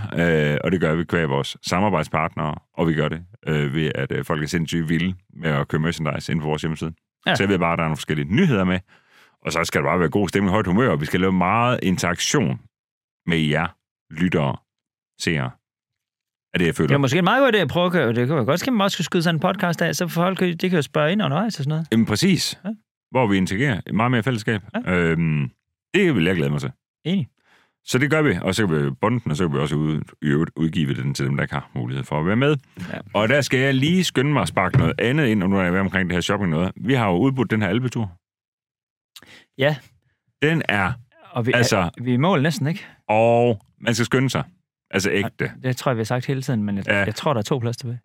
øh, og det gør vi kvæg vores samarbejdspartnere, og vi gør det øh, ved, at øh, folk er sindssygt vilde med at købe merchandise inde på vores hjemmeside. Ja.
Ja.
Så jeg ved bare, at der er nogle forskellige nyheder med, og så skal der bare være god stemning og højt humør, og vi skal lave meget interaktion med jer, lyttere, seere. Er det, jeg føler?
Det er måske en meget god idé at prøve at køre. Det kan jo godt ske, at man også skulle skyde sådan en podcast af, så folk de kan jo spørge ind undervejs og sådan noget.
Jamen præcis. Ja.
Ja.
Hvor vi integrerer meget mere fællesskab. Ja. Øhm, det vil jeg glæde mig til.
Enig.
Så det gør vi, og så kan vi bonde den, og så kan vi også ud, i øvrigt udgive den til dem, der ikke har mulighed for at være med. Ja.
Ja.
Og der skal jeg lige skynde mig at sparke noget andet ind, og nu er jeg ved omkring det her shopping noget. Vi har jo udbudt den her albetur.
Ja.
Den er,
Og vi, altså...
altså,
vi er i mål næsten, ikke?
og man skal skynde sig. Altså ægte.
Det tror jeg, vi har sagt hele tiden, men jeg,
Ja.
ja. jeg tror, der er to plads tilbage.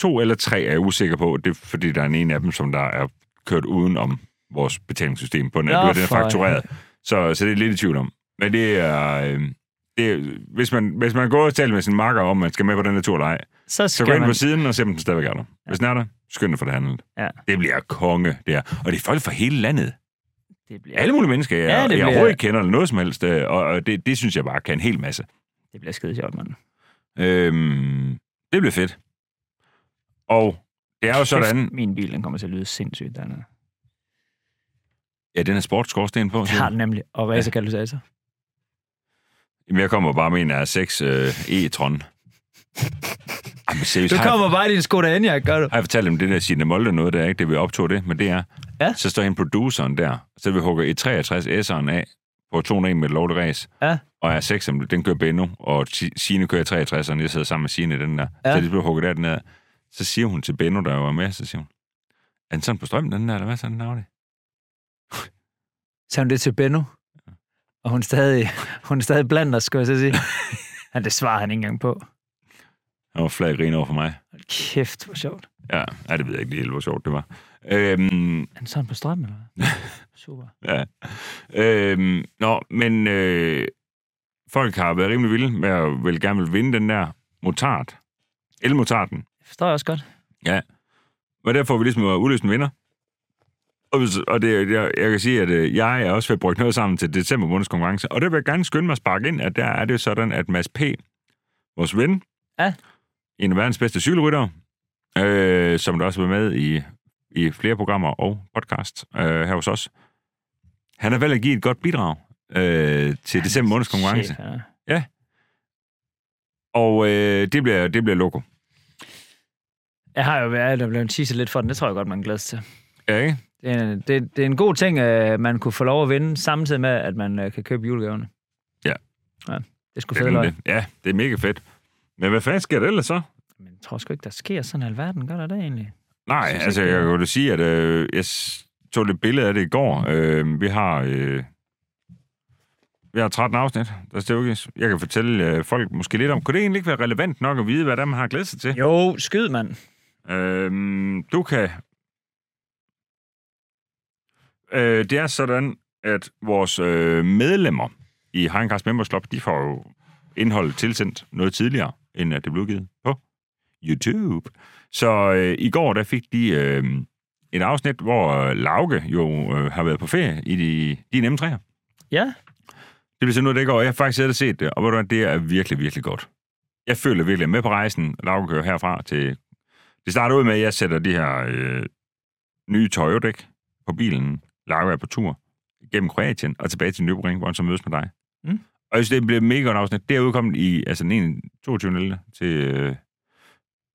To eller tre er jeg usikker på, det er fordi, der er en ene af dem, som der er kørt udenom vores betalingssystem på den,
Nå,
ja, den er
for-
faktureret. Så, så det er lidt i tvivl om. Men det er... Øh, det er hvis, man, hvis man går og taler med sin makker om, at man skal med på den her tur eller ej,
Så
så
skal
gå ind
man...
på siden og se, om den stadigvæk er der. Hvis den er der, skynd dig for det handlet.
Ja.
Det bliver konge, det her. Og det er folk fra hele landet.
Det bliver,
Alle mulige mennesker, jeg,
Ja,
ja,
det
jeg
bliver-
overhovedet ikke kender eller noget som helst, øh, og, og det, det synes jeg bare kan en hel masse.
det bliver skide sjovt, mand.
Øhm, det bliver fedt. Og det er jo sådan...
Kæft, Min bil, den kommer til at lyde sindssygt dernede.
Ja, den er sportskorsten på.
Jeg
siger
har
du?
den nemlig, og racerkatalysator.
Jamen, jeg kommer bare med en af 6 øh, E-tron. Jamen, seriøst,
Du
har, jeg,
kommer bare i din Skoda Enyaq, gør du?
har jeg fortalt dem det der Signe Molde noget, der er ikke det, vi optog det, men det er,
Ja.
så står hende produceren der, så vi hugger E63S'eren af på 201 med lovlig race,
Ja.
og er 6 den kører Benno, og Ti- Signe kører 63'eren, jeg sidder sammen med Signe i den der,
Ja.
så det blev hugget af den der. Så siger hun til Benno, der var med, så siger hun, er den sådan på strømmen, den der, eller hvad så den Audi?
Sagde hun det til Benno? Og hun er stadig, hun er stadig blandt os, skulle jeg så sige. Han, det svarer han ikke engang på.
Han var flad grin over for mig.
Hold Kæft, hvor sjovt.
Ja, ja, det ved jeg ikke lige helt, hvor sjovt det var. Øhm,
Er Han sådan på strøm, eller hvad? Super.
Ja. Øhm, nå, men øh, folk har været rimelig vilde med at vil gerne vil vinde den der motard. Elmotarden.
Det forstår jeg også godt.
Og der får vi ligesom at udløse en vinder. Og, hvis- og det, jeg, jeg kan sige, at øh, jeg er også ved at bruge noget sammen til december måneds konkurrence. Og der vil jeg gerne skynde mig at sparke ind, at der er det jo sådan, at Mads P., vores ven,
Ja.
en af verdens bedste cykelryttere, øh, som der også har været med i, i flere programmer og podcast øh, her hos os, han har valgt at give et godt bidrag øh, til december måneds konkurrence.
Shit, ja.
Og øh, det, bliver, det bliver loko.
Jeg har jo været der blev en tisse lidt for den. Det tror jeg godt, man glæder sig til.
Ja, ikke?
Det er, en- det, det er en god ting, at man kunne få lov at vinde, samtidig med, at man øh, kan købe julegaverne.
Ja.
Ja, det skulle
Det er
fedt
nemlig
løg.
det. Ja, det er mega fedt. Men hvad fanden sker der ellers så?
Men jeg tror sgu ikke, der sker sådan en alverden. Gør der det egentlig?
Nej,
Jeg synes
altså
ikke, det
jeg
er-
kunne da sige, at øh, jeg s- tog lidt billede af det i går. Øh, vi har øh, vi har 13 afsnit, der stævkes. Jeg kan fortælle øh, folk måske lidt om, kunne det egentlig ikke være relevant nok at vide, hvad der man har glædet sig til?
Jo, skyd, mand.
Øh, du kan... Øh, det er sådan, at vores øh, medlemmer i Heinkars Members Club, de får jo indholdet tilsendt noget tidligere, end at det blev udgivet på YouTube. Så øh, i går, der fik de øh, et afsnit, hvor øh, Lauke jo øh, har været på ferie i de, de nemme træer.
Ja.
Det vil sige noget, det går. Jeg har faktisk siddet og set det, og ved du hvad, det er virkelig, virkelig godt. Jeg føler virkelig, at jeg er med på rejsen. Lauke kører herfra til... Det starter ud med, at jeg sætter de her øh, nye tøjdæk på bilen. Lauke er på tur gennem Kroatien og tilbage til Nybring, hvor han så mødes med dig.
Mm.
Og jeg synes, det blev mega godt afsnit. Det er udkommet i altså, den 21. 22. til øh,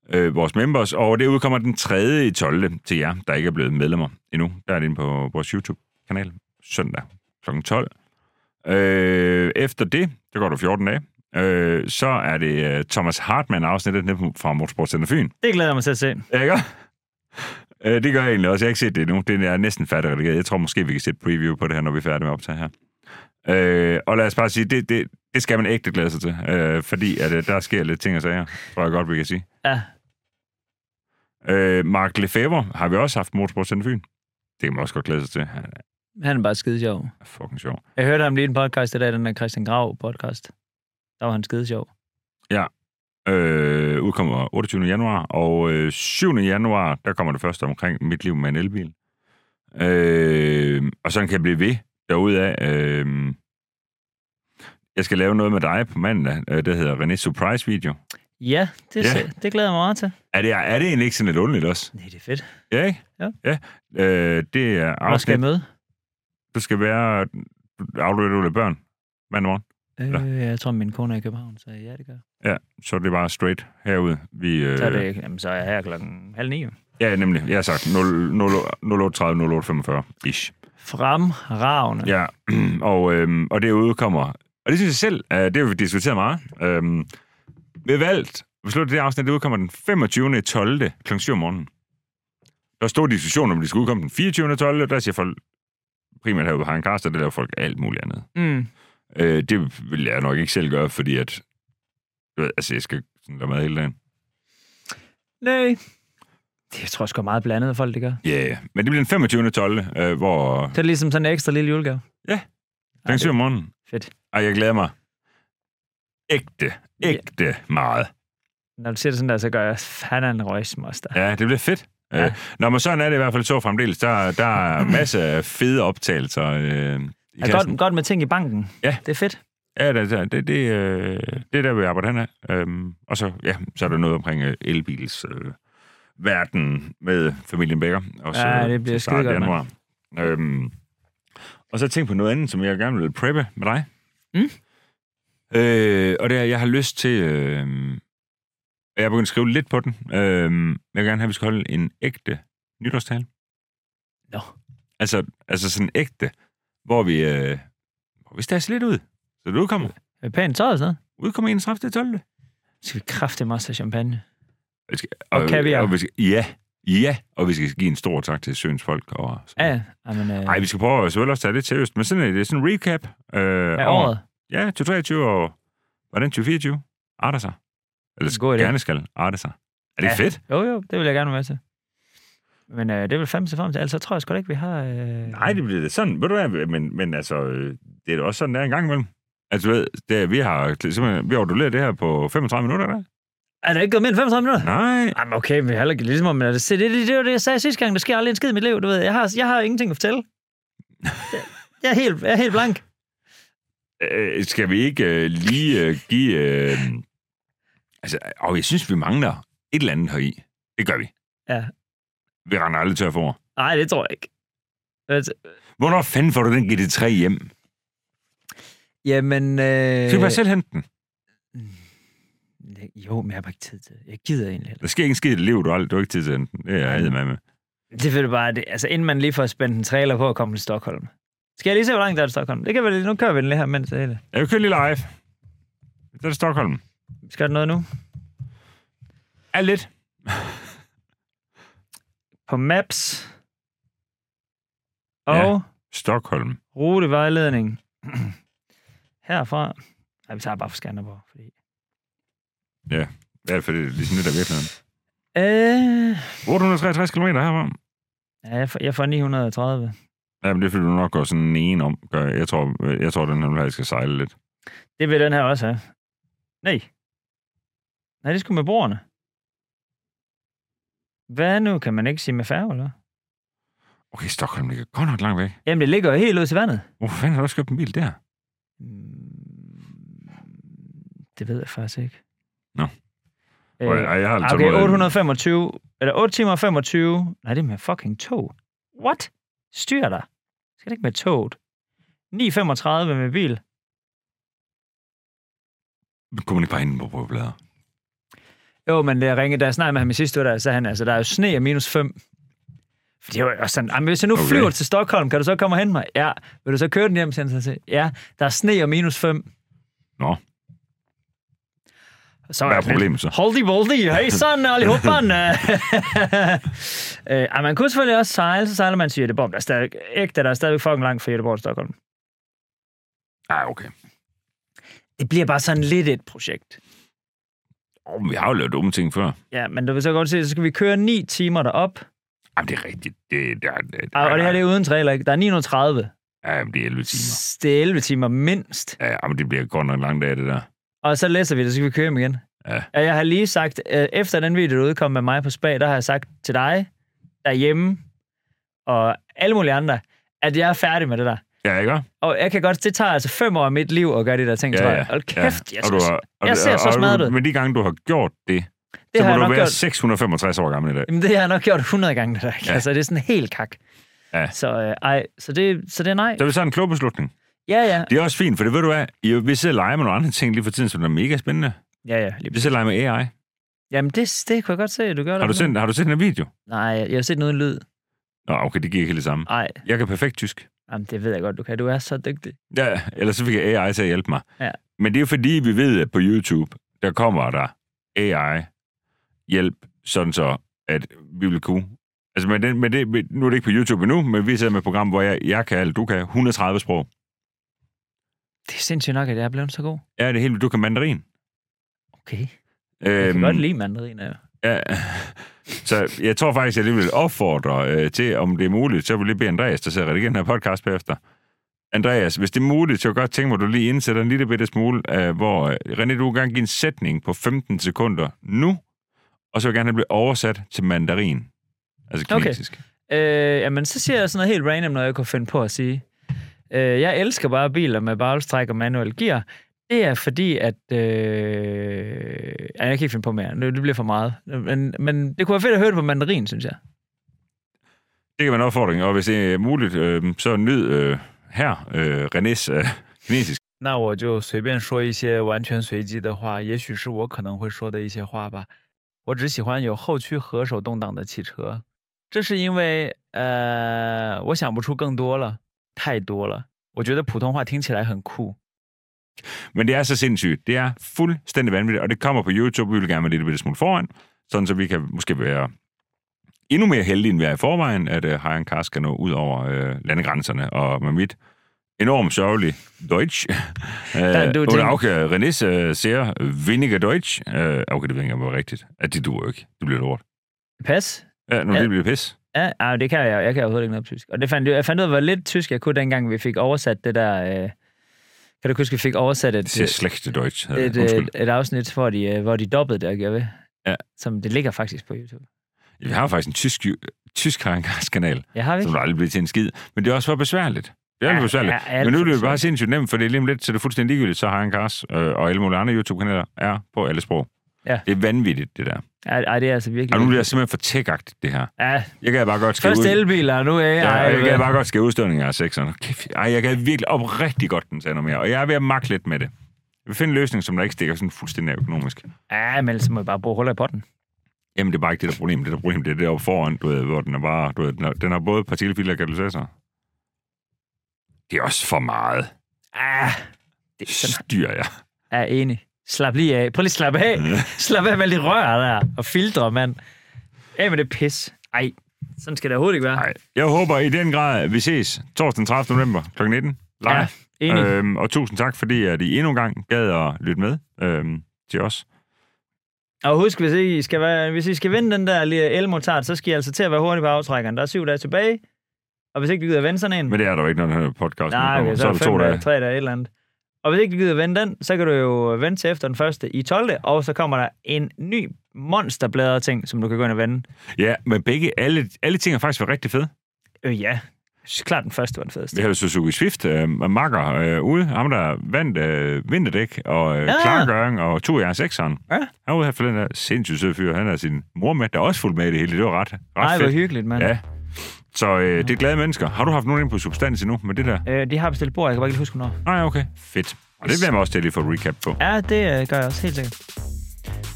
øh, vores members, og det udkommer den 3. i 12. til jer, der ikke er blevet medlemmer endnu. Der er det inde på vores YouTube-kanal søndag kl. 12. Øh, efter det, det går du 14 dage, øh, så er det øh, Thomas Hartmann afsnittet nede på- fra Motorsportcenter Fyn.
Det glæder jeg mig til at se.
Ikke? Øh, det gør jeg egentlig også. Jeg har ikke set det endnu. Det er næsten færdigredigeret. Jeg tror måske, vi kan sætte preview på det her, når vi er færdige med at optage her. Øh, og lad os bare sige, det, det, det skal man ægte glæde sig til, øh, fordi at, øh, der sker lidt ting og sager, tror jeg godt, vi kan sige.
Ja.
Øh, Mark Lefebvre har vi også haft på Motorsportcenter Fyn. Det kan man også godt glæde sig til. Han
Han er bare skide sjov.
er fucking sjov.
Jeg hørte ham lige i en podcast i dag, den der Christian Grav podcast. Der var han skide sjov.
Øh, udkommer 28. januar, og øh, 7. januar, der kommer det første omkring mit liv med en elbil. Øh, og sådan kan jeg blive ved derudaf. Øh, jeg skal lave noget med dig på mandag, øh, det hedder René Surprise Video.
Ja, det,
Ja.
yeah. det glæder jeg mig meget til.
Er det, er det egentlig ikke sådan lidt underligt også?
Nej, det er fedt.
Ja, ikke?
Ja.
ja. Øh, det er
Hvor skal
afsnit,
jeg møde?
du skal være afledt af børn mandag morgen.
Øh, jeg tror, min kone er i København, så ja, det gør.
Ja, så er det bare straight herude. Vi, øh,
Så er, det, jamen, så er jeg her klokken halv ni. jo.
Ja, nemlig. Jeg har sagt 0830-0845 ish.
Fremragende.
Ja, og, øhm, og det udkommer. Og det synes jeg selv, øh, det har vi diskuteret meget. Øhm, vi har valgt, vi slutter det her afsnit, det udkommer den 25. 12. kl. 7 om morgenen. Der stod diskussion om, det skulle udkomme den 24. 12. Der siger folk, primært herude har en kaster, der laver folk alt muligt andet.
Mm.
Øh, det vil jeg nok ikke selv gøre, fordi at, du ved, altså jeg skal sådan lade mad hele dagen.
Nej. Det jeg tror jeg sgu er meget blandet, folk det gør.
Ja, yeah. men det bliver den 25. 12., øh, hvor
Så er det ligesom sådan en ekstra lille julegave.
Ja.
Ej,
Den syv om
det,
morgenen.
Fedt.
Og jeg glæder mig. Ægte, ægte meget.
når du siger det sådan der, så gør jeg fanden en røgsmoster.
Ja, det bliver fedt. Ja. Øh, nå, men sådan er det i hvert fald så fremdeles. Der, der er masser af fede optagelser øh, i
Er
kassen.
godt, godt med ting i banken.
Ja.
Det er fedt.
Ja, det, det, det, det, øh, det er der, vi arbejder henad. Øhm, og så, ja, så er der noget omkring øh, elbils øh, verden med familien Becker. Og så,
Ja, det bliver
til start
skidegodt, mand.
januar. Øhm, og så tænk på noget andet, som jeg gerne vil preppe med dig.
Mm.
Øh, og det er, jeg har lyst til... Øh, jeg er begyndt at skrive lidt på den. Øh, jeg vil gerne have, at vi skal holde en ægte nytårstale.
Nå.
Altså, altså sådan ægte, hvor vi, øh, hvor vi stager lidt ud. Så du kommer.
Øh, Pænt tøj og sådan noget.
Udkommer 31. til 12.
Så Skal vi kræfte mig til champagne?
Vi skal-
Og kaviar.
Og vi skal, ja, ja, og vi skal give en stor tak til Søens folk. Og,
Ja, ja. Jamen, øh,
Nej, vi skal prøve at selvfølgelig også tage det til øst, men sådan, er det sådan en recap. Øh,
af
over-
året.
Ja, 2023 og hvordan 2024 arter sig. Eller
God idé.
gerne skal arte sig. Er det
Ja.
ja. fedt?
Jo, jo, det vil jeg gerne være med til. Men øh, det vil fandme se frem til. Altså, tror jeg sgu da ikke, vi har... Øh...
Nej, det bliver det sådan. Ved du hvad, men, men altså, øh, det er da også sådan, der en gang imellem. Altså, du ved, det, er- vi har simpelthen, vi har orduleret det her på 35 minutter, der.
Er det ikke gået mere end 35 minutter?
Nej.
Jamen okay, men heller ikke ligesom, men det, det, det, det var det, jeg sagde sidste gang. Der sker aldrig en skid i mit liv, du ved. Jeg har, jeg har ingenting at fortælle. Jeg er helt, jeg er helt blank.
Øh, skal vi ikke øh, lige øh, give... Øh, altså, og jeg synes, vi mangler et eller andet heri. Det gør vi.
Ja.
Vi render aldrig tør for.
Nej, det tror jeg ikke. Altså,
Hvornår fanden får du den GT3 hjem?
Jamen... Øh...
Skal vi bare selv hente den?
Jo, men jeg har bare ikke tid til det. Jeg gider egentlig heller.
Der sker ikke en skid i dit liv, du har, aldrig, du har ikke tid til at hente den. Det er jeg med med.
Det er fedt bare, det, altså inden man lige får spændt en trailer på at komme til Stockholm. Skal jeg lige se, hvor langt der er til Stockholm? Det kan vi lige, nu kører vi den lige her, mens det hele.
Jeg vil køre lige live. Det er Stockholm.
Skal der noget nu?
Er lidt.
På Maps. Og
Ja.
ja.
Stockholm.
rutevejledning. Herfra. Nej, vi tager bare for Skanderborg. Fordi...
Ja, for det er ligesom det, der er virkeligheden.
Øh...
863 km herfra.
Ja, jeg får, jeg får 930.
Ja, men det er fordi, du nok går sådan en om. Gør jeg. Jeg tror, jeg tror den her vil have, skal sejle lidt.
Det vil den her også have. Nej. Nej, det skulle med brugerne. Hvad nu? Kan man ikke sige med færge, eller? hvad?
Okay, Stockholm ligger godt nok langt væk.
Jamen, det ligger jo helt ud til vandet.
Hvorfor fanden har du også købt en bil der?
Mm, Det ved jeg faktisk ikke.
Nå.
Øh,
Øh, jeg har altså
okay,
noget-
825, eller 8 timer og 25. Nej, det er med fucking tog. What? Styr dig. Skal det ikke med toget? 9.35 med bil.
Kunne man ikke bare hente den på prøveblader?
Jo, men da jeg ringede, da jeg snakkede med ham i sidste uge, der sagde han, altså, der er jo sne og minus 5. For det var jo også sådan, "Jamen, hvis jeg nu
Okay.
okay. flyver til Stockholm, kan du så komme og hente mig? Ja. Vil du så køre den hjem? Siger han så til. Ja, der er sne og minus 5.
Nå.
Så
Hvad
jeg
er
sådan lidt,
problemet så?
Holdi voldi, hej sådan, allihopa. øh, ej, man kunne selvfølgelig også sejle, så sejler man til Göteborg. men Der er stadig, ægte, der er stadigvæk fucking langt fra Göteborg til Stockholm.
Nej, Ah, okay.
Det bliver bare sådan lidt et projekt.
Oh, vi har jo lavet dumme ting før.
Ja, men du vil så godt se, så skal vi køre 9 timer derop.
Jamen, det er rigtigt. Det, det, er- det, det,
Og, og det her det er uden trailer, ikke? Der er 930.
Ja, jamen, det er 11 timer.
Det er 11 timer mindst.
Ja, jamen, det bliver godt nok en lang dag, det der.
Og så læser vi det, så skal vi køre hjem igen.
Ja.
Og jeg har lige sagt, øh, efter den video, der udkom med mig på Spag, der har jeg sagt til dig derhjemme og alle mulige andre, at jeg er færdig med det der.
Ja, ikke? også?
Og jeg kan godt, det tager altså fem år af mit liv at gøre de der ting,
Ja,
tror
ja,
jeg. Hold
ja.
kæft, ja. jeg,
Og du
synes,
har, og,
jeg ser
og,
så
og du-
smadret ud.
Men de gange, du har gjort det,
det
så må
har jeg
du
nok
være
gjort.
665 år gammel i dag.
Jamen, det har jeg nok gjort 100 gange, det der. Ikke?
Ja.
Ja. Altså, det er sådan helt kak.
Ja.
Så, øh, ej, så, det, så det er nej.
Det er sådan en klog beslutning.
Ja, ja.
Det er også fint, for det ved du hvad, I- vi sidder og leger med nogle andre ting lige for tiden, som er mega spændende.
Ja, ja. lige-
Vi sidder og leger med AI.
Jamen, det, det kunne jeg godt se, at du gør det.
Har du set, har du set den her video?
Nej, jeg har set noget lyd.
Nå, okay, det gik ikke helt det samme.
Nej,
Jeg kan perfekt tysk.
jamen, det ved jeg godt, du kan. Du er så dygtig.
Ja, ellers så fik jeg AI til at hjælpe mig.
Ja.
Men det er jo fordi, vi ved, at på YouTube, der kommer der AI-hjælp, sådan så, at vi vil kunne... Altså, men, den, men det, men nu er det ikke på YouTube endnu, men vi sidder med et program, hvor jeg, jeg kan alt, du kan 130 sprog.
Det er sindssygt nok, at jeg er blevet så god.
Ja, det er helt vildt. Du kan mandarin. Øhm,
Okay. Jeg kan godt lide mandariner, jo.
Ja. Så jeg tror faktisk, jeg lige vil opfordre øh, til, om det er muligt, så vil jeg lige bede Andreas, der sidder og redigerer den her podcast bagefter. Andreas, hvis det er muligt, så kunne jeg godt tænke mig, at du lige indsætter en lille bitte smule, øh, hvor øh, René, du vil gerne give en sætning på 15 sekunder nu, og så vil jeg gerne have det bliver oversat til mandarin. Altså
Okay.
kinesisk. Okay.
Øh, jamen, så siger jeg sådan noget helt random, når jeg kunne finde på at sige. Øh, jeg elsker bare biler med baglstræk og manuel gear. Det er fordi, at... Øh... Ej, jeg kan ikke finde på mere. Nu- Det bliver for meget. Men, men det kunne være fedt at høre det på mandarin, synes jeg.
Det kan være en opfordring, og hvis det er muligt, øh, så nyd øh, her øh, Renés øh, kinesisk.
那我就随便说一些完全随机的话，也许是我可能会说的一些话吧。我只喜欢有后驱和手动挡的汽车，这是因为呃，我想不出更多了，太多了。我觉得普通话听起来很酷。
Men det er så sindssygt. Det er fuldstændig vanvittigt, og det kommer på YouTube. Vi vil gerne være lidt, lidt smule foran, sådan så vi kan måske være endnu mere heldige, end vi er i forvejen, at øh, Hayan Kars kan nå ud over øh, landegrænserne. Og med mit enormt sørgelige Deutsch, øh,
Der, du
oder
tænker-
auch øh, Renés øh, ser weniger Deutsch. Øh, okay, det ved jeg ikke engang, hvor rigtigt. At det duer jo ikke. Det bliver lort.
Pas.
Ja, nu ja.
Ja.
det bliver pis.
Ja, ej, det kan jeg. Jeg kan overhovedet ikke noget på tysk. Og det fandt, jeg fandt ud af, hvor lidt tysk jeg kunne, dengang vi fik oversat det der... Øh... Kan du huske, vi fik oversat
Det
et, øh,
ser slægte Deutsch. hedder
et,
det. Undskyld.
et, et afsnit, hvor de, øh, hvor de dobbede det og gjorde ved?
Ja.
Som det ligger faktisk på YouTube.
Vi har jo faktisk en tysk, tysk kanal,
Jeg har vi
som
ikke?
der aldrig bliver til en skid. Men det er også for besværligt. Det er ja, besværligt.
ja,
Ja,
alt
men nu
for
bliver det bare
besværligt.
sindssygt nemt, for det er lige om lidt, så det er fuldstændig ligegyldigt, så har en Kars øh, og alle mulige andre YouTube-kanaler er på alle sprog.
Ja.
Det er vanvittigt, det der.
Ej, ej, det er altså virkelig...
Og nu bliver jeg simpelthen for tech det her.
Ja,
Jeg kan bare godt skrive
Først
ud...
elbiler, og nu er
Ja,
jeg...
jeg kan bare godt skæve udstødninger af sekseren. Kæft, Ej, jeg kan virkelig op rigtig godt den sagde noget mere, og jeg er ved at magte lidt med det. Jeg vil finde en løsning, som der ikke stikker sådan fuldstændig af økonomisk.
Ja, men så må jeg bare bruge huller i potten.
Jamen, det er bare ikke det, der er problemet. Det, der er problemet, det er deroppe foran, du ved, hvor den er bare... Du ved, den, har, den har både partikelfilter og katalysator. Det er også for meget.
Ah, det er sådan,
Styrer jeg.
jeg er enig. Slap lige af. Prøv lige at slappe af.
Mm.
Slap af med alle de rør der, og filtre, mand. Af med det pis. Ej, sådan skal det overhovedet ikke være.
Nej. Jeg håber i den grad, at vi ses torsdag den 30. november kl. 19. Live.
Ja, enig. Øh.
Øhm, og tusind tak, fordi at I endnu en gang gad at lytte med øhm, til os.
Og husk, hvis I, skal være, hvis I skal vinde den der lille elmotard, så skal I altså til at være hurtig på aftrækkeren. Der er syv dage tilbage. Og hvis ikke du gider at vende sådan en...
Men det er der jo ikke, når den her podcast
Nej,
udkommer.
okay, så er det
to
fem dage,
dage.
tre dage, et eller andet. Og hvis ikke du gider vende den, så kan du jo vente til efter den første i 12. Og så kommer der en ny monsterblader ting, som du kan gå ind og vende.
Ja, men begge, alle, alle ting har faktisk været rigtig fede.
Øh, ja. Så Klart den første var den fedeste.
Vi havde Suzuki Swift, øh, makker øh, ude. Ham, der vandt øh, vinterdæk og øh,
Ja.
klargøring og to jeres sekseren.
Ja.
Han var ude her for den der sindssygt sød fyr. Han har sin mor med, der er også fuldt med i det hele. Det var ret, ret
Nej, hvor
fedt.
hyggeligt, mand.
Ja. Så øh, det er glade mennesker. Har du haft nogen ind på substans endnu med det der?
Øh, de har bestilt bord, jeg kan bare ikke lige huske, hvornår.
Nej, okay. Fedt. Og det bliver man også til at lige få recap på.
Ja, det øh, gør jeg også, helt sikkert.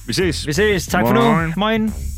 Vi ses.
Vi ses. Tak for nu.
Moin.
Moin.